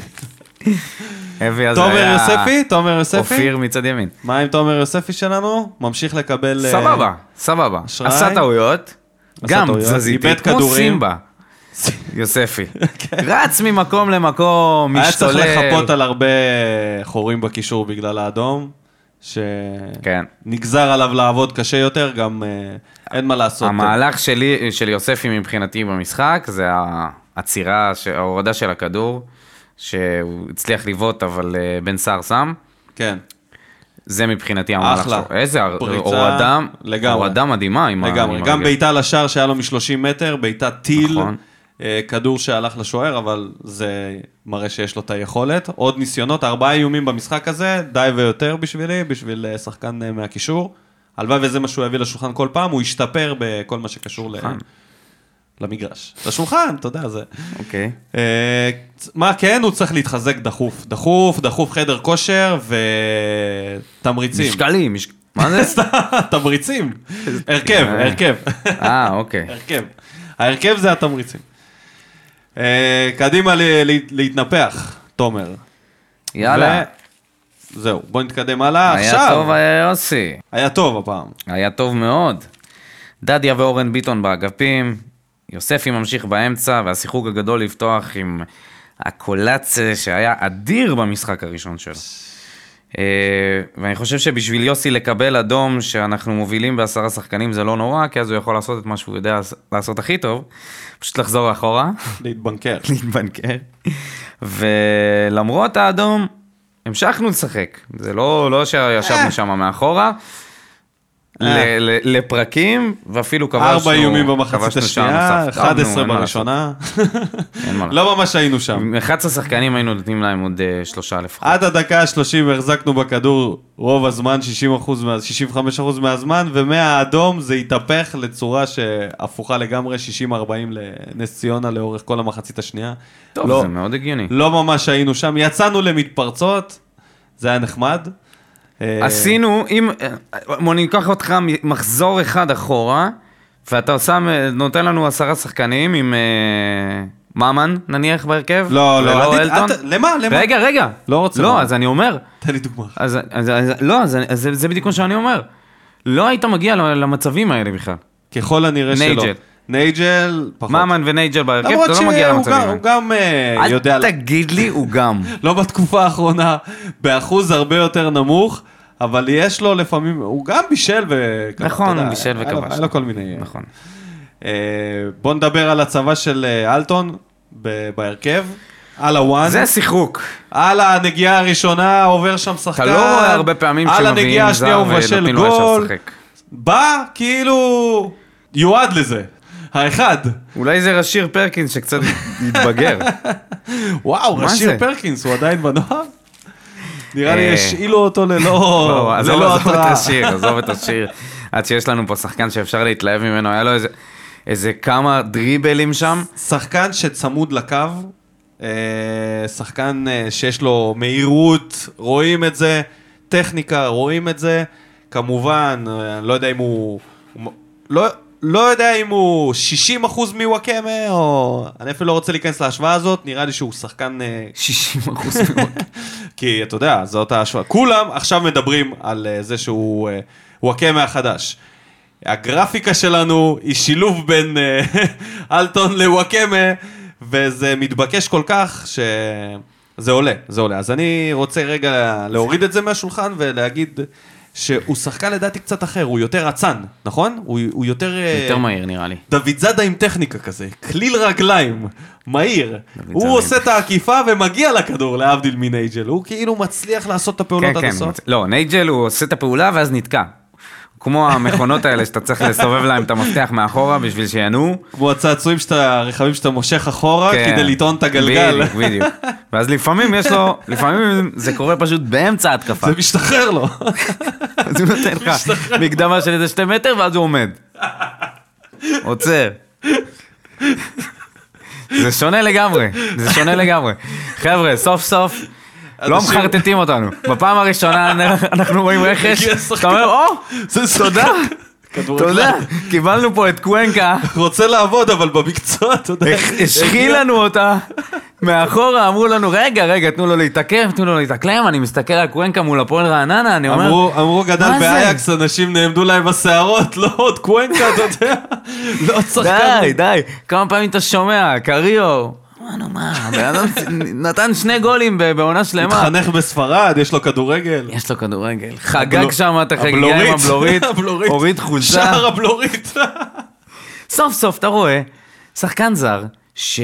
Speaker 2: אבי אז
Speaker 1: תומר
Speaker 2: היה
Speaker 1: יוספי, תומר יוספי.
Speaker 2: אופיר מצד ימין.
Speaker 1: מה עם תומר יוספי שלנו? ממשיך לקבל... אה,
Speaker 2: סבבה, סבבה.
Speaker 1: אשראי.
Speaker 2: עשה טעויות, גם
Speaker 1: טעויות,
Speaker 2: תזזיתי,
Speaker 1: איבד
Speaker 2: כמו
Speaker 1: כדורים. כן.
Speaker 2: סימבה. יוספי. רץ ממקום למקום,
Speaker 1: היה צריך
Speaker 2: משתולל.
Speaker 1: לחפות על הרבה חורים בקישור בגלל האדום, שנגזר
Speaker 2: כן.
Speaker 1: עליו לעבוד קשה יותר, גם אה, אין מה לעשות.
Speaker 2: המהלך שלי, של יוספי מבחינתי במשחק, זה העצירה, ש- ההורדה של הכדור, שהוא הצליח לבעוט, אבל אה, בן סער שם.
Speaker 1: כן.
Speaker 2: זה מבחינתי המהלך
Speaker 1: אחלה.
Speaker 2: שלו. איזה הר-
Speaker 1: פריצה
Speaker 2: הורדה,
Speaker 1: לגמרי.
Speaker 2: הורדה מדהימה עם ה-
Speaker 1: לגמרי,
Speaker 2: עם
Speaker 1: גם
Speaker 2: הרגל.
Speaker 1: בעיטה לשער שהיה לו מ-30 מטר, בעיטה טיל,
Speaker 2: נכון.
Speaker 1: אה, כדור שהלך לשוער, אבל זה מראה שיש לו את היכולת. עוד ניסיונות, ארבעה איומים במשחק הזה, די ויותר בשבילי, בשביל אה, שחקן אה, מהקישור. הלוואי וזה מה שהוא יביא לשולחן כל פעם, הוא ישתפר בכל מה שקשור ל...
Speaker 2: שולחן.
Speaker 1: למגרש. לשולחן, אתה יודע, זה...
Speaker 2: אוקיי.
Speaker 1: אה, מה כן, הוא צריך להתחזק דחוף. דחוף, דחוף חדר כושר ותמריצים.
Speaker 2: משקלים, משק- מה זה?
Speaker 1: סתם, תמריצים. הרכב,
Speaker 2: אה.
Speaker 1: הרכב.
Speaker 2: אה, אוקיי.
Speaker 1: הרכב. ההרכב זה התמריצים. אה, קדימה ל- ל- להתנפח, תומר.
Speaker 2: יאללה.
Speaker 1: ו- זהו, בוא נתקדם הלאה.
Speaker 2: היה
Speaker 1: עכשיו.
Speaker 2: טוב, היה יוסי.
Speaker 1: היה טוב הפעם.
Speaker 2: היה טוב מאוד. דדיה ואורן ביטון באגפים, יוספי ממשיך באמצע, והשיחוק הגדול לפתוח עם הקולאצה שהיה אדיר במשחק הראשון שלו. אה, ואני חושב שבשביל יוסי לקבל אדום שאנחנו מובילים בעשרה שחקנים זה לא נורא, כי אז הוא יכול לעשות את מה שהוא יודע לעשות הכי טוב, פשוט לחזור אחורה.
Speaker 1: להתבנקר.
Speaker 2: להתבנקר. ולמרות האדום, המשכנו לשחק. זה לא, לא שישבנו שם מאחורה. ל- ל- לפרקים, ואפילו כבשנו...
Speaker 1: אה. ארבע איומים במחצית
Speaker 2: כבשנו שער
Speaker 1: השנייה,
Speaker 2: נוסף. טעמנו,
Speaker 1: 11
Speaker 2: אין מה
Speaker 1: בראשונה.
Speaker 2: לעשות, אין מה לעשות.
Speaker 1: לא ממש היינו שם.
Speaker 2: עם 11 שחקנים היינו נותנים להם עוד אה, שלושה לפחות.
Speaker 1: עד הדקה ה-30 החזקנו בכדור רוב הזמן, 60% מה- 65% מהזמן, ומהאדום זה התהפך לצורה שהפוכה לגמרי, 60-40 לנס ציונה לאורך כל המחצית השנייה.
Speaker 2: טוב,
Speaker 1: לא,
Speaker 2: זה מאוד הגיוני.
Speaker 1: לא ממש היינו שם, יצאנו למתפרצות, זה היה נחמד. אה,
Speaker 2: עשינו, אם... אה, בוא ניקח אותך מ- מחזור אחד אחורה, ואתה שם, אה, נותן לנו עשרה שחקנים עם אה, ממן, נניח, בהרכב?
Speaker 1: לא, לא,
Speaker 2: ולא
Speaker 1: אל ת-
Speaker 2: אלטון?
Speaker 1: אל ת- למה? למה?
Speaker 2: רגע, רגע.
Speaker 1: לא רוצה
Speaker 2: לא,
Speaker 1: לומר.
Speaker 2: אז אני אומר.
Speaker 1: תן לי דוגמה.
Speaker 2: אז, אז, אז, לא, אז, אז זה, זה בדיוק מה שאני אומר. לא היית מגיע ל- למצבים האלה בכלל.
Speaker 1: ככל הנראה שלא.
Speaker 2: נייג'ל.
Speaker 1: נייג'ל, פחות.
Speaker 2: ממן ונייג'ל בהרכב,
Speaker 1: למרות
Speaker 2: אתה לא
Speaker 1: שהוא
Speaker 2: מגיע
Speaker 1: גם-
Speaker 2: למצבים האלה.
Speaker 1: הוא גם אה,
Speaker 2: אל
Speaker 1: יודע...
Speaker 2: תגיד לי, הוא גם.
Speaker 1: לא בתקופה האחרונה, באחוז הרבה יותר נמוך, אבל יש לו לפעמים, הוא גם בישל וכבש.
Speaker 2: נכון, הוא בישל וכבש.
Speaker 1: היה לו כל מיני...
Speaker 2: נכון.
Speaker 1: אה, בוא נדבר על הצבא של אה, אלטון ב- בהרכב, על הוואן,
Speaker 2: זה שיחוק.
Speaker 1: על הנגיעה הראשונה, עובר שם שחקן,
Speaker 2: אתה לא רואה הרבה פעמים
Speaker 1: על הנגיעה השנייה
Speaker 2: שמביאים זר
Speaker 1: הוא מבשל
Speaker 2: ונותנים לו ישר
Speaker 1: גול,
Speaker 2: לשחק.
Speaker 1: בא כאילו יועד לזה, האחד.
Speaker 2: אולי זה רשיר פרקינס שקצת התבגר.
Speaker 1: וואו,
Speaker 2: מה
Speaker 1: רשיר
Speaker 2: זה?
Speaker 1: פרקינס, הוא עדיין בנוער? נראה לי
Speaker 2: אה.
Speaker 1: השאילו אותו ללא
Speaker 2: לא, עזוב
Speaker 1: ללא
Speaker 2: עזוב את
Speaker 1: התראה.
Speaker 2: השיר, עזוב את השיר. עד שיש לנו פה שחקן שאפשר להתלהב ממנו, היה לו איזה- איזה כמה דריבלים שם.
Speaker 1: שחקן שצמוד לקו, אה, שחקן אה, שיש לו מהירות, רואים את זה, טכניקה, רואים את זה, כמובן, אני לא יודע אם הוא... הוא לא, לא יודע אם הוא 60% מוואקמה, או... אני אפילו לא רוצה להיכנס להשוואה הזאת, נראה לי שהוא שחקן... אה,
Speaker 2: 60 אחוז מוואקמה.
Speaker 1: כי אתה יודע, זאת ההשוואה. כולם עכשיו מדברים על אה, זה שהוא אה, וואקמה החדש. הגרפיקה שלנו היא שילוב בין אה, אלטון לוואקמה, וזה מתבקש כל כך ש... זה עולה, זה עולה. אז אני רוצה רגע להוריד את זה מהשולחן ולהגיד שהוא שחקן לדעתי קצת אחר, הוא יותר אצן, נכון? הוא, הוא יותר... אה,
Speaker 2: יותר מהיר נראה לי.
Speaker 1: דוד זאדה עם טכניקה כזה, כליל רגליים, מהיר.
Speaker 2: דוד זאדה
Speaker 1: הוא
Speaker 2: עם-
Speaker 1: עושה את העקיפה ומגיע לכדור, להבדיל מנייג'ל. הוא כאילו מצליח לעשות את הפעולות
Speaker 2: כן,
Speaker 1: עד
Speaker 2: כן.
Speaker 1: הסוף.
Speaker 2: מצ- לא, נייג'ל הוא עושה את הפעולה ואז נתקע. כמו המכונות האלה שאתה צריך לסובב להם את המפתח מאחורה בשביל שינועו.
Speaker 1: כמו הצעצועים שאתה, הרכבים שאתה מושך אחורה
Speaker 2: כן.
Speaker 1: כדי לטעון את הגלגל.
Speaker 2: בדיוק, בדיוק. ואז לפעמים יש לו, לפעמים זה קורה פשוט באמצע ההתקפה.
Speaker 1: זה משתחרר לו.
Speaker 2: אז הוא נותן לך מקדמה של איזה שתי מטר ואז הוא עומד. עוצר. זה שונה לגמרי, זה שונה לגמרי. חבר'ה, סוף סוף לא
Speaker 1: אנשים-
Speaker 2: מחרטטים אותנו. בפעם הראשונה אנחנו רואים רכש,
Speaker 1: הגיע שחקן.
Speaker 2: אתה אומר, או,
Speaker 1: זה שחקן
Speaker 2: תודה, תודה,
Speaker 1: כדורגלן.
Speaker 2: קיבלנו פה את קוונקה,
Speaker 1: רוצה לעבוד, אבל במקצוע, אתה יודע.
Speaker 2: השחיל
Speaker 1: הגיע-
Speaker 2: לנו אותה, מאחורה אמרו לנו, רגע, רגע, תנו לו להתעכב, תנו לו להתאקלם, אני מסתכל על קוונקה מול הפועל רעננה, אני אומר,
Speaker 1: אמרו, אמרו גדל
Speaker 2: מה זה?
Speaker 1: באייקס, אנשים נעמדו להם בשערות, לא עוד קוונקה, אתה יודע. לא עוד שחקן.
Speaker 2: די, די, כמה פעמים אתה שומע, קריו. מה, נו מה, הבן אדם נתן שני גולים ב- בעונה שלמה.
Speaker 1: התחנך בספרד, יש לו כדורגל.
Speaker 2: יש לו כדורגל. חגג שם את החגיגה עם
Speaker 1: הבלורית.
Speaker 2: הבלורית,
Speaker 1: הבלורית.
Speaker 2: הוריד חולצה.
Speaker 1: שער הבלורית.
Speaker 2: סוף סוף אתה רואה שחקן זר ש...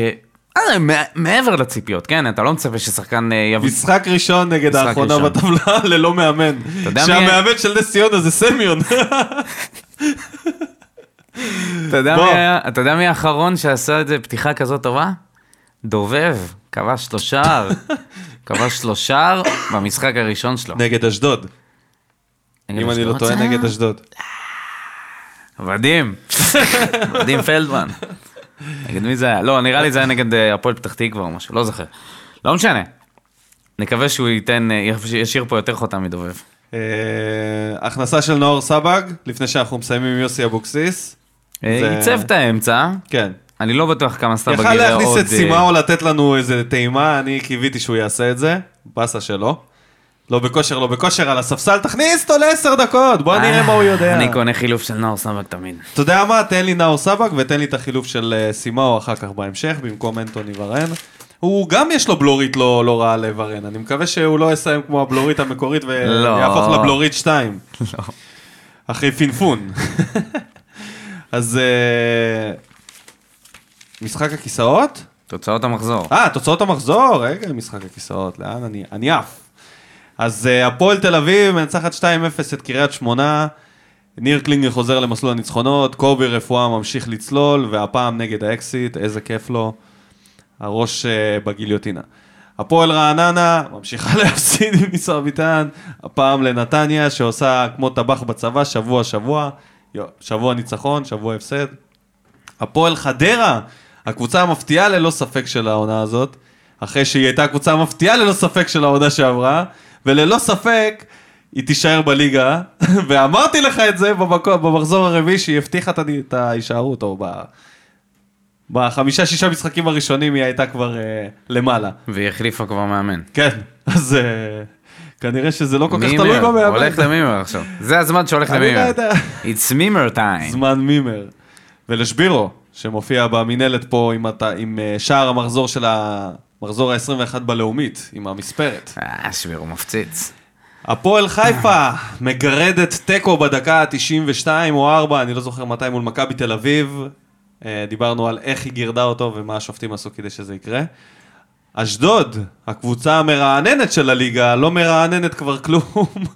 Speaker 2: אה, מע- מעבר לציפיות, כן? אתה לא מצפה ששחקן אה, יביא...
Speaker 1: משחק ראשון נגד
Speaker 2: משחק
Speaker 1: האחרונה
Speaker 2: ראשון.
Speaker 1: בטבלה ללא מאמן.
Speaker 2: יודע מי-
Speaker 1: שהמאמן של נס ציונה זה סמיון.
Speaker 2: אתה יודע
Speaker 1: בוא.
Speaker 2: מי היה- אתה יודע מי האחרון שעשה את זה פתיחה כזאת טובה? דובב, כבש לו שער. כבש לו שער במשחק הראשון שלו.
Speaker 1: נגד אשדוד.
Speaker 2: נגד
Speaker 1: אם אני לא
Speaker 2: אשדוד
Speaker 1: טועה
Speaker 2: זה היה?
Speaker 1: נגד אשדוד.
Speaker 2: מדהים, מדהים פלדמן. נגד מי זה היה? לא, נראה לי זה היה נגד אה, הפועל פתח תקווה או משהו, לא זוכר. לא משנה. נקווה שהוא ייתן, אה, ישאיר פה יותר חותם מדובב.
Speaker 1: אה, הכנסה של נאור סבג, לפני שאנחנו מסיימים עם יוסי אבוקסיס.
Speaker 2: אה,
Speaker 1: זה-
Speaker 2: עיצב את האמצע,
Speaker 1: כן.
Speaker 2: אני לא בטוח כמה סתם
Speaker 1: יכל
Speaker 2: בגיל עוד...
Speaker 1: להכניס את
Speaker 2: אה,
Speaker 1: סימאו לתת לנו איזה טעימה, אני קיוויתי שהוא יעשה את זה. באסה שלא. לא בכושר, לא בכושר, על הספסל, תכניס אותו לעשר דקות, בוא נראה
Speaker 2: אה,
Speaker 1: מה הוא יודע.
Speaker 2: אני קונה חילוף של נאור סבק תמיד.
Speaker 1: אתה יודע מה? תן לי נאור סבק ותן לי את החילוף של אה, סימאו אחר כך בהמשך, במקום אנטוני ורן. הוא גם יש לו בלורית לא, לא רעה לוורן, אני מקווה שהוא לא יסיים כמו הבלורית המקורית
Speaker 2: לא.
Speaker 1: ויהפוך לבלורית 2. אחרי פינפון. אז אה, משחק הכיסאות?
Speaker 2: תוצאות המחזור.
Speaker 1: אה, תוצאות המחזור, רגע, משחק הכיסאות, לאן אני, אני עף. אז אה, הפועל תל אביב מנצחת 2-0 את קריית שמונה, ניר קלינגר חוזר למסלול הניצחונות, קובי רפואה ממשיך לצלול, והפעם נגד האקסיט, איזה כיף לו, הראש אה, בגיליוטינה. הפועל רעננה ממשיכה להפסיד עם ניסר ביטן, הפעם לנתניה שעושה כמו טבח בצבא, שבוע שבוע, יו, שבוע ניצחון, שבוע הפסד, הפועל חדרה, הקבוצה המפתיעה ללא ספק של העונה הזאת, אחרי שהיא הייתה הקבוצה המפתיעה ללא ספק של העונה שעברה, וללא ספק היא תישאר בליגה, ואמרתי לך את זה במקום, במחזור הרביעי שהיא הבטיחה את הד- את ההישארות, או ב... בחמישה-שישה משחקים הראשונים היא הייתה כבר אה, למעלה.
Speaker 2: והיא החליפה כבר מאמן.
Speaker 1: כן, אז אה, כנראה שזה לא כל כך
Speaker 2: מימר,
Speaker 1: תלוי במאמן.
Speaker 2: הולך למימר עכשיו. זה הזמן שהולך
Speaker 1: אני לא
Speaker 2: למימר.
Speaker 1: יודע.
Speaker 2: It's מימר time.
Speaker 1: זמן מימר. ולשבירו, שמופיע במינהלת פה עם, הת... עם אה, שער המחזור של המחזור ה-21 בלאומית, עם המספרת.
Speaker 2: אה, שביר הוא מפציץ.
Speaker 1: הפועל חיפה מגרדת תיקו בדקה ה-92 או 4, אני לא זוכר מתי, מול מכבי תל אביב. אה, דיברנו על איך היא גירדה אותו ומה השופטים עשו כדי שזה יקרה. אשדוד, הקבוצה המרעננת של הליגה, לא מרעננת כבר כלום,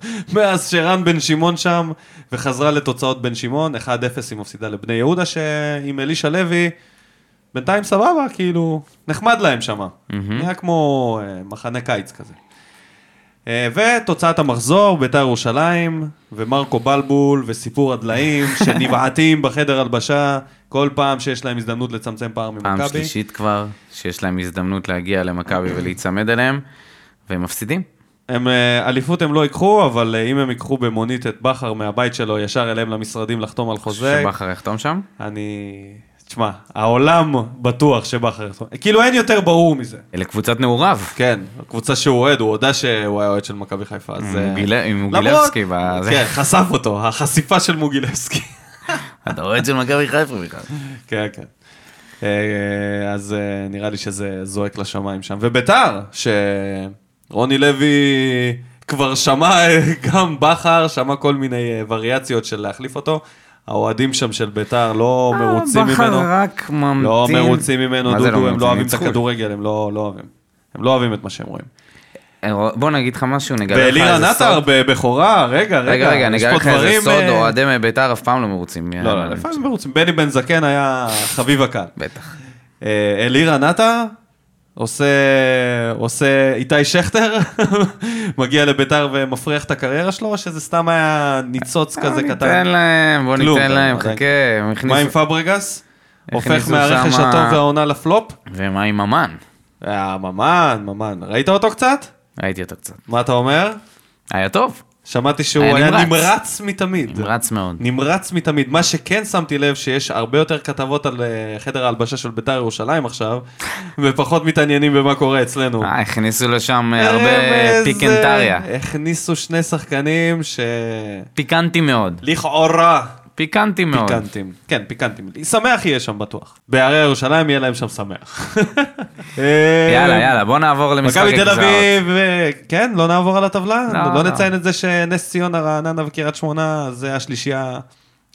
Speaker 1: מאז שרן בן שמעון שם, וחזרה לתוצאות בן שמעון, 1-0 היא מפסידה לבני יהודה, שעם אלישע לוי, בינתיים סבבה, כאילו, נחמד להם שם. נראה כמו אה, מחנה קיץ כזה. אה, ותוצאת המחזור, ביתר ירושלים, ומרקו בלבול, וסיפור הדליים, שנבעטים בחדר הלבשה, כל פעם שיש להם הזדמנות לצמצם פער ממכבי.
Speaker 2: פעם שלישית כבר, שיש להם הזדמנות להגיע למכבי ולהיצמד אליהם, והם מפסידים.
Speaker 1: הם, אה, אליפות הם לא ייקחו, אבל אה, אם הם ייקחו במונית את בכר מהבית שלו ישר אליהם למשרדים לחתום על חוזה,
Speaker 2: שבכר יחתום שם?
Speaker 1: אני... תשמע, העולם בטוח שבכר יחתום. כאילו אין יותר ברור מזה.
Speaker 2: אלה קבוצת נעוריו.
Speaker 1: כן, הקבוצה שהוא אוהד, הוא הודה שהוא היה אוהד של מכבי חיפה, אז... אה,
Speaker 2: עם גיל- עם
Speaker 1: למרות-
Speaker 2: מוגילבסקי. בזה.
Speaker 1: כן, חשף אותו, החשיפה של מוגילבסקי.
Speaker 2: אתה רואה את זה במכבי חיפה בכלל.
Speaker 1: כן, כן. אה, אז אה, נראה לי שזה זועק לשמיים שם. וביתר, שרוני לוי כבר שמע אה, גם בכר, שמע כל מיני אה, וריאציות של להחליף אותו. האוהדים שם של ביתר לא מרוצים ממנו.
Speaker 2: אה, בכר רק ממתין.
Speaker 1: לא מרוצים ממנו,
Speaker 2: מה זה לא
Speaker 1: דודו, הם
Speaker 2: מרוצים?
Speaker 1: לא אוהבים את
Speaker 2: ניצחו.
Speaker 1: הכדורגל, הם לא לא אוהבים. הם לא אוהבים את מה שהם רואים.
Speaker 2: אה, בוא נגיד לך משהו, נגלה לך איזה
Speaker 1: ואלירן עטר
Speaker 2: כן, אה, סוד.
Speaker 1: בבכורה, רגע, רגע,
Speaker 2: רגע, רגע,
Speaker 1: יש
Speaker 2: נגלה
Speaker 1: פה
Speaker 2: לך איזה
Speaker 1: דברים,
Speaker 2: סוד,
Speaker 1: אה,
Speaker 2: אוהדי בית"ר אף פעם לא מרוצים.
Speaker 1: לא, לא, לפעמים מרוצים. בני בן זקן היה חביב הקהל.
Speaker 2: בטח.
Speaker 1: אה, אלירן עטר עושה, עושה איתי שכטר, מגיע לביתר ומפריח את הקריירה שלו, או שזה סתם היה ניצוץ כזה
Speaker 2: בוא
Speaker 1: קטן?
Speaker 2: אה, ניתן להם, בוא
Speaker 1: כלום,
Speaker 2: ניתן להם,
Speaker 1: עדיין.
Speaker 2: חכה. הם
Speaker 1: מה עם
Speaker 2: הכניסו-
Speaker 1: פברגס? הופך
Speaker 2: הכניסו
Speaker 1: מהרכש
Speaker 2: שמה-
Speaker 1: הטוב והעונה לפלופ?
Speaker 2: ומה עם ממן?
Speaker 1: אה, ממן, ממן. ראית אותו קצת?
Speaker 2: ראיתי אותו קצת.
Speaker 1: מה אתה אומר?
Speaker 2: היה טוב,
Speaker 1: שמעתי שהוא
Speaker 2: היה
Speaker 1: היה
Speaker 2: אה,
Speaker 1: נמרץ
Speaker 2: נמרץ.
Speaker 1: מתמיד.
Speaker 2: רץ מאוד.
Speaker 1: נמרץ מתמיד. מה שכן שמתי לב, שיש הרבה יותר כתבות על אה, חדר ההלבשה של בית"ר ירושלים עכשיו, ופחות מתעניינים במה קורה אצלנו.
Speaker 2: אה, הכניסו לשם אה,
Speaker 1: ארז,
Speaker 2: הרבה פיקנטריה.
Speaker 1: אה, הכניסו שני שחקנים שלכאורה
Speaker 2: פיקנטי מאוד. פיקנטי מאוד.
Speaker 1: פיקנטים. כן, פיקנטים. שמח יהיה שם בטוח. בערי ירושלים יהיה להם שם שמח. אה,
Speaker 2: יאללה, יאללה, בוא נעבור למשחק
Speaker 1: מכבי תל
Speaker 2: הגזרות.
Speaker 1: אביב, אה, כן, לא נעבור על הטבלה?
Speaker 2: לא,
Speaker 1: לא,
Speaker 2: לא.
Speaker 1: נציין את זה שנס ציונה, רעננה וקריית שמונה, זה השלישייה,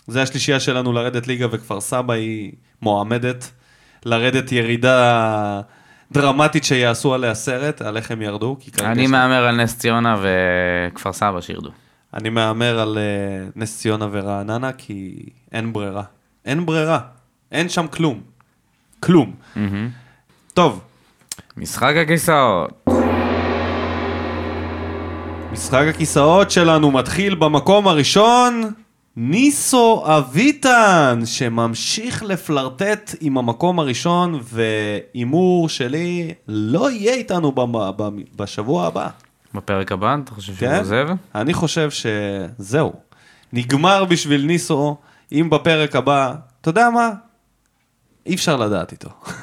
Speaker 1: זה השלישייה שלנו לרדת ליגה, וכפר סבא היא מועמדת לרדת ירידה דרמטית שיעשו עליה סרט, על איך הם ירדו. כי כרגע
Speaker 2: אני
Speaker 1: יש-
Speaker 2: מהמר על נס ציונה וכפר סבא שירדו.
Speaker 1: אני מהמר על אה, נס ציונה ורעננה, כי אין ברירה. אין ברירה. אין שם כלום. כלום.
Speaker 2: מהמם.
Speaker 1: טוב,
Speaker 2: משחק הכיסאות.
Speaker 1: משחק הכיסאות שלנו מתחיל במקום הראשון, ניסו אביטן, שממשיך לפלרטט עם המקום הראשון, והימור שלי לא יהיה איתנו במ- במ- בשבוע הבא.
Speaker 2: בפרק הבא, אתה חושב שהוא
Speaker 1: כן?
Speaker 2: עוזב?
Speaker 1: אני חושב שזהו. נגמר בשביל ניסו, אם בפרק הבא, אתה יודע מה? אי אפשר לדעת איתו.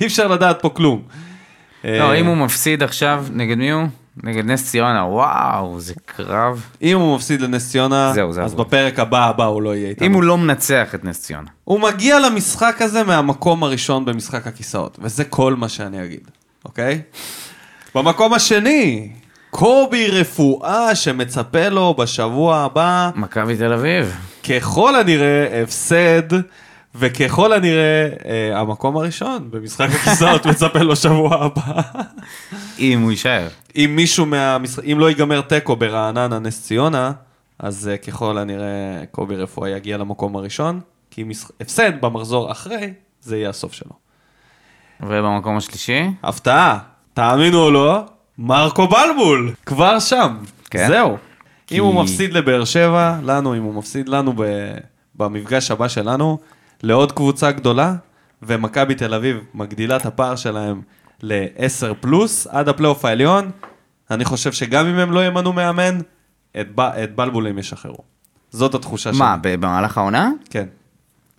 Speaker 1: אי אפשר לדעת פה כלום. אה,
Speaker 2: לא, אם הוא מפסיד עכשיו, נגד מי הוא? נגד נס ציונה, וואו, זה קרב.
Speaker 1: אם הוא מפסיד לנס ציונה,
Speaker 2: זהו, זה
Speaker 1: אז
Speaker 2: עבוד.
Speaker 1: בפרק הבא הבא הוא לא יהיה איתנו.
Speaker 2: אם הוא לא מנצח את נס ציונה.
Speaker 1: הוא מגיע למשחק הזה מהמקום הראשון במשחק הכיסאות, וזה כל מה שאני אגיד, אוקיי? במקום השני, קובי רפואה שמצפה לו בשבוע הבא,
Speaker 2: מכבי תל אביב.
Speaker 1: ככל הנראה הפסד, וככל הנראה אה, המקום הראשון במשחק הכיסאות מצפה לו שבוע הבא.
Speaker 2: אם הוא יישאר.
Speaker 1: אם מישהו מהמשחק, אם לא ייגמר תיקו ברעננה נס ציונה, אז אה, ככל הנראה קובי רפואה יגיע למקום הראשון, כי משח... הפסד במחזור אחרי, זה יהיה הסוף שלו.
Speaker 2: ובמקום השלישי?
Speaker 1: הפתעה, תאמינו או לא, מרקו בלבול, כבר שם.
Speaker 2: כן.
Speaker 1: זהו.
Speaker 2: כי-
Speaker 1: אם הוא מפסיד לבאר שבע, לנו, אם הוא מפסיד לנו ב... במפגש הבא שלנו, לעוד קבוצה גדולה, ומכבי תל אביב מגדילה את הפער שלהם ל-10 פלוס עד הפלייאוף העליון, אני חושב שגם אם הם לא ימנו מאמן, את, ב... את בלבול הם ישחררו. זאת התחושה שלי.
Speaker 2: מה, ב- במהלך העונה?
Speaker 1: כן.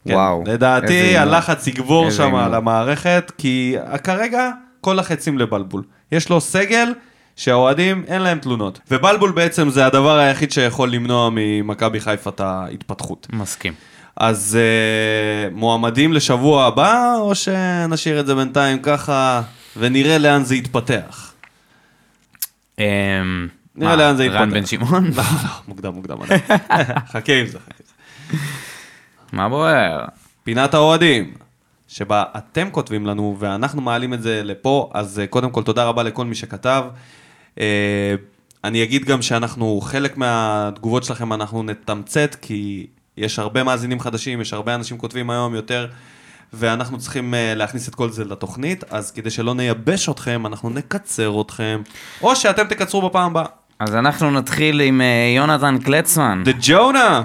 Speaker 2: וואו,
Speaker 1: כן.
Speaker 2: איזה
Speaker 1: לדעתי
Speaker 2: הימור.
Speaker 1: הלחץ יגבור
Speaker 2: איזה
Speaker 1: שם
Speaker 2: הימור.
Speaker 1: על המערכת, כי כרגע כל החצים לבלבול. יש לו סגל שהאוהדים אין להם תלונות. ובלבול בעצם זה הדבר היחיד שיכול למנוע ממכבי חיפה את ההתפתחות.
Speaker 2: מסכים.
Speaker 1: אז אה, מועמדים לשבוע הבא, או שנשאיר את זה בינתיים ככה ונראה לאן זה יתפתח?
Speaker 2: אמ,
Speaker 1: נראה
Speaker 2: מה,
Speaker 1: לאן זה
Speaker 2: רן
Speaker 1: יתפתח.
Speaker 2: בן שמעון?
Speaker 1: לא, לא, מוקדם, מוקדם. עדיין. חכה עם זה, חכה עם זה.
Speaker 2: מה בוער?
Speaker 1: פינת האוהדים, שבה אתם כותבים לנו ואנחנו מעלים את זה לפה, אז אה, קודם כל תודה רבה לכל מי שכתב. אה, אני אגיד גם שאנחנו, חלק מהתגובות שלכם אנחנו נתמצת, כי יש הרבה מאזינים חדשים, יש הרבה אנשים כותבים היום יותר, ואנחנו צריכים אה, להכניס את כל זה לתוכנית, אז כדי שלא נייבש אתכם, אנחנו נקצר אתכם, או שאתם תקצרו בפעם הבאה.
Speaker 2: אז אנחנו נתחיל עם אה, יונתן קלצמן,
Speaker 1: דה ג'ונה!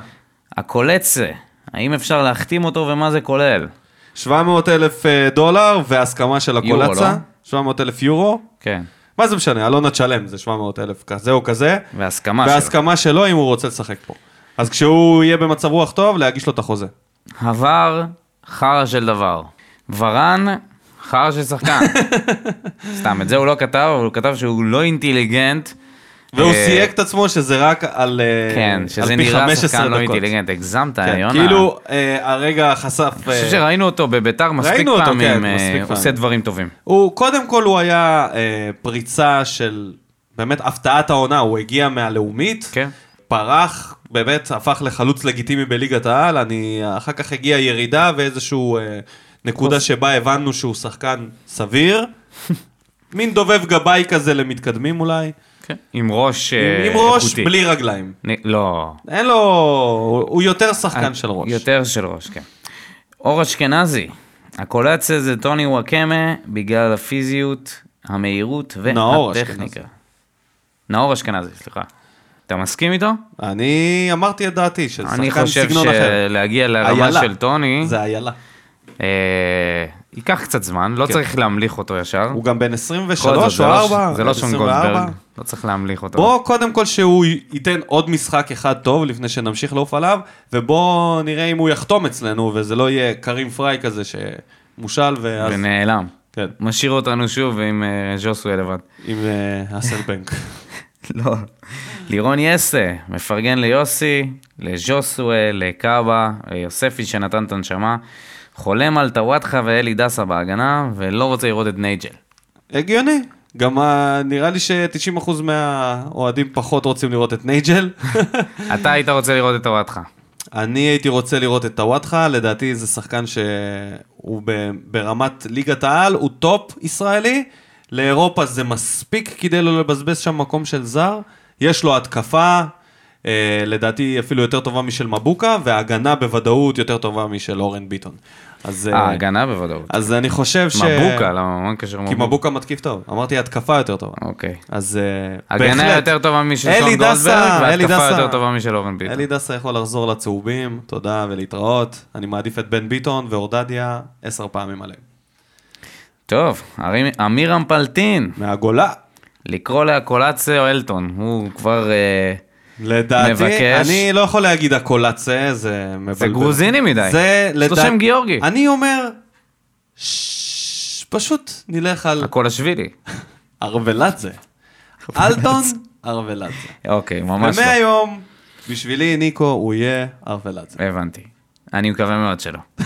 Speaker 2: הקולצה. האם אפשר להחתים אותו ומה זה כולל?
Speaker 1: 700 אלף אה, דולר והסכמה של
Speaker 2: יורו,
Speaker 1: הקולצה.
Speaker 2: לא?
Speaker 1: 700 אלף יורו.
Speaker 2: כן.
Speaker 1: מה זה משנה, אלונה תשלם, זה 700 אלף כזה או כזה,
Speaker 2: והסכמה שלו.
Speaker 1: בהסכמה שלו אם הוא רוצה לשחק פה. אז כשהוא יהיה במצב רוח טוב, להגיש לו את החוזה.
Speaker 2: עבר חרא של דבר. ורן, חרא של שחקן. סתם, את זה הוא לא כתב, אבל הוא כתב שהוא לא אינטליגנט.
Speaker 1: והוא
Speaker 2: אה,
Speaker 1: סייג את עצמו שזה רק על אה,
Speaker 2: כן,
Speaker 1: על
Speaker 2: שזה
Speaker 1: פי
Speaker 2: נראה
Speaker 1: 15
Speaker 2: שחקן לא
Speaker 1: דקות.
Speaker 2: אינטליגנט, הגזמת,
Speaker 1: כן,
Speaker 2: יונה.
Speaker 1: כאילו אה, הרגע חשף...
Speaker 2: אני חושב
Speaker 1: אה,
Speaker 2: שראינו אותו בביתר מספיק
Speaker 1: ראינו אותו,
Speaker 2: פעמים,
Speaker 1: כן,
Speaker 2: אה,
Speaker 1: מספיק
Speaker 2: עושה
Speaker 1: פעמים.
Speaker 2: דברים טובים.
Speaker 1: הוא, קודם כל הוא היה אה, פריצה של באמת הפתעת העונה, הוא הגיע מהלאומית,
Speaker 2: כן.
Speaker 1: פרח, באמת הפך לחלוץ לגיטימי בליגת העל, אני, אחר כך הגיעה ירידה ואיזשהו אה, נקודה שבה הבנו שהוא שחקן סביר. מין דובב גבאי כזה למתקדמים אולי,
Speaker 2: עם ראש
Speaker 1: עם,
Speaker 2: אה,
Speaker 1: עם ראש
Speaker 2: איכותי.
Speaker 1: בלי רגליים.
Speaker 2: אני- לא.
Speaker 1: אין לו, הוא- הוא יותר שחקן
Speaker 2: אה,
Speaker 1: של ראש.
Speaker 2: יותר של ראש, כן. אור אשכנזי, הקולציה זה טוני וואקמה בגלל הפיזיות, המהירות
Speaker 1: נאור
Speaker 2: והטכניקה.
Speaker 1: אשכנזי.
Speaker 2: נאור אשכנזי, סליחה. אתה מסכים איתו?
Speaker 1: אני אמרתי את דעתי, שזה
Speaker 2: אני
Speaker 1: שחקן
Speaker 2: חושב
Speaker 1: סגנון אחר.
Speaker 2: שלהגיע לרמה
Speaker 1: איילה.
Speaker 2: של טוני,
Speaker 1: זה איילה.
Speaker 2: אה, ייקח קצת זמן, לא צריך להמליך אותו ישר.
Speaker 1: כן. הוא גם בן
Speaker 2: בכל זאת,
Speaker 1: 23
Speaker 2: זה
Speaker 1: או
Speaker 2: לא-
Speaker 1: 4.
Speaker 2: זה לא שון גולדברג, לא צריך להמליך אותו.
Speaker 1: בוא קודם כל שהוא ייתן עוד משחק אחד טוב לפני שנמשיך לעוף עליו, ובוא נראה אם הוא יחתום אצלנו וזה לא יהיה קרים פריי כזה שמושל ואז...
Speaker 2: ונעלם.
Speaker 1: כן,
Speaker 2: משאיר אותנו שוב עם אה, ז'וסווה לבד.
Speaker 1: עם אה, אסלבנק.
Speaker 2: לא. לירון יסה, מפרגן ליוסי, לז'וסווה, לקאבה, ליוספי שנתן את הנשמה, חולם על טוואטחה ואלי דסה בהגנה, ולא רוצה לראות את נייג'ל.
Speaker 1: הגיוני. גם אה, נראה לי ש-90% מהאוהדים פחות רוצים לראות את נייג'ל.
Speaker 2: אתה היית רוצה לראות את טוואטחה.
Speaker 1: אה, אני הייתי רוצה לראות את טוואטחה, לדעתי זה שחקן שהוא ב- ברמת ליגת העל, הוא טופ ישראלי, לאירופה זה מספיק כדי לא לבזבז שם מקום של זר, יש לו התקפה, אה, לדעתי אפילו יותר טובה משל מבוקה, וההגנה בוודאות יותר טובה משל אורן ביטון. אז, אה,
Speaker 2: ההגנה בוודאות.
Speaker 1: אז אני חושב ש...
Speaker 2: מבוקה, למה? מה קשר
Speaker 1: כי
Speaker 2: מבוקה?
Speaker 1: מבוקה מתקיף טוב, אמרתי התקפה יותר טובה.
Speaker 2: אוקיי.
Speaker 1: אז אה,
Speaker 2: הגנה
Speaker 1: בהחלט,
Speaker 2: יותר טובה משל
Speaker 1: אלי
Speaker 2: שון
Speaker 1: דסה,
Speaker 2: גולדברג,
Speaker 1: אלי
Speaker 2: והתקפה
Speaker 1: דסה.
Speaker 2: יותר טובה משל אורן ביטון.
Speaker 1: אלי דסה יכול לחזור לצהובים, תודה ולהתראות. אני מעדיף את בן ביטון ואורדדיה עשר פעמים עליהם.
Speaker 2: טוב, ארים- אמיר אמפלטין,
Speaker 1: מהגולה.
Speaker 2: לקרוא להקולציה או אלטון, הוא כבר... אה,
Speaker 1: לדעתי,
Speaker 2: מבקש.
Speaker 1: אני לא יכול להגיד הקולצה, זה מבלבל.
Speaker 2: זה גרוזיני מדי.
Speaker 1: זה
Speaker 2: יש לו שם גיאורגי.
Speaker 1: אני אומר, ש... פשוט נלך על
Speaker 2: הקולשווילי.
Speaker 1: ארוולדזה. אלטון ארוולדזה.
Speaker 2: אוקיי, ממש לא.
Speaker 1: ומהיום, בשבילי ניקו הוא יהיה ארוולדזה.
Speaker 2: הבנתי. אני מקווה מאוד שלא.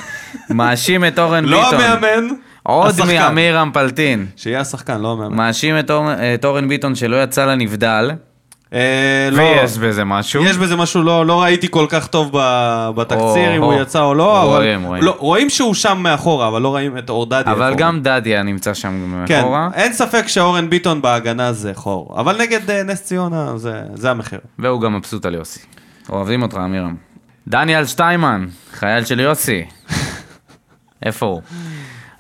Speaker 2: מאשים את אורן ביטון.
Speaker 1: לא המאמן,
Speaker 2: עוד
Speaker 1: השחקן.
Speaker 2: מאמיר אמפלטין.
Speaker 1: שיהיה השחקן, לא המאמן.
Speaker 2: מאשים את אור- את אורן ביטון שלא יצא לנבדל.
Speaker 1: אה, לא.
Speaker 2: ויש בזה משהו.
Speaker 1: יש בזה משהו, לא, לא ראיתי כל כך טוב ב- בתקציר,
Speaker 2: או,
Speaker 1: אם הוא
Speaker 2: או.
Speaker 1: יצא או לא, אבל...
Speaker 2: רואים, רואים.
Speaker 1: לא, רואים שהוא שם מאחורה, אבל לא רואים את אורדדיה.
Speaker 2: אבל גם דדיה נמצא שם
Speaker 1: כן,
Speaker 2: מאחורה.
Speaker 1: אין ספק שאורן ביטון בהגנה זה חור, אבל נגד אה, נס ציונה זה, זה המחיר.
Speaker 2: והוא גם מבסוט על יוסי. אוהבים אותך, אמירם. דניאל שטיימן, חייל של יוסי. איפה הוא?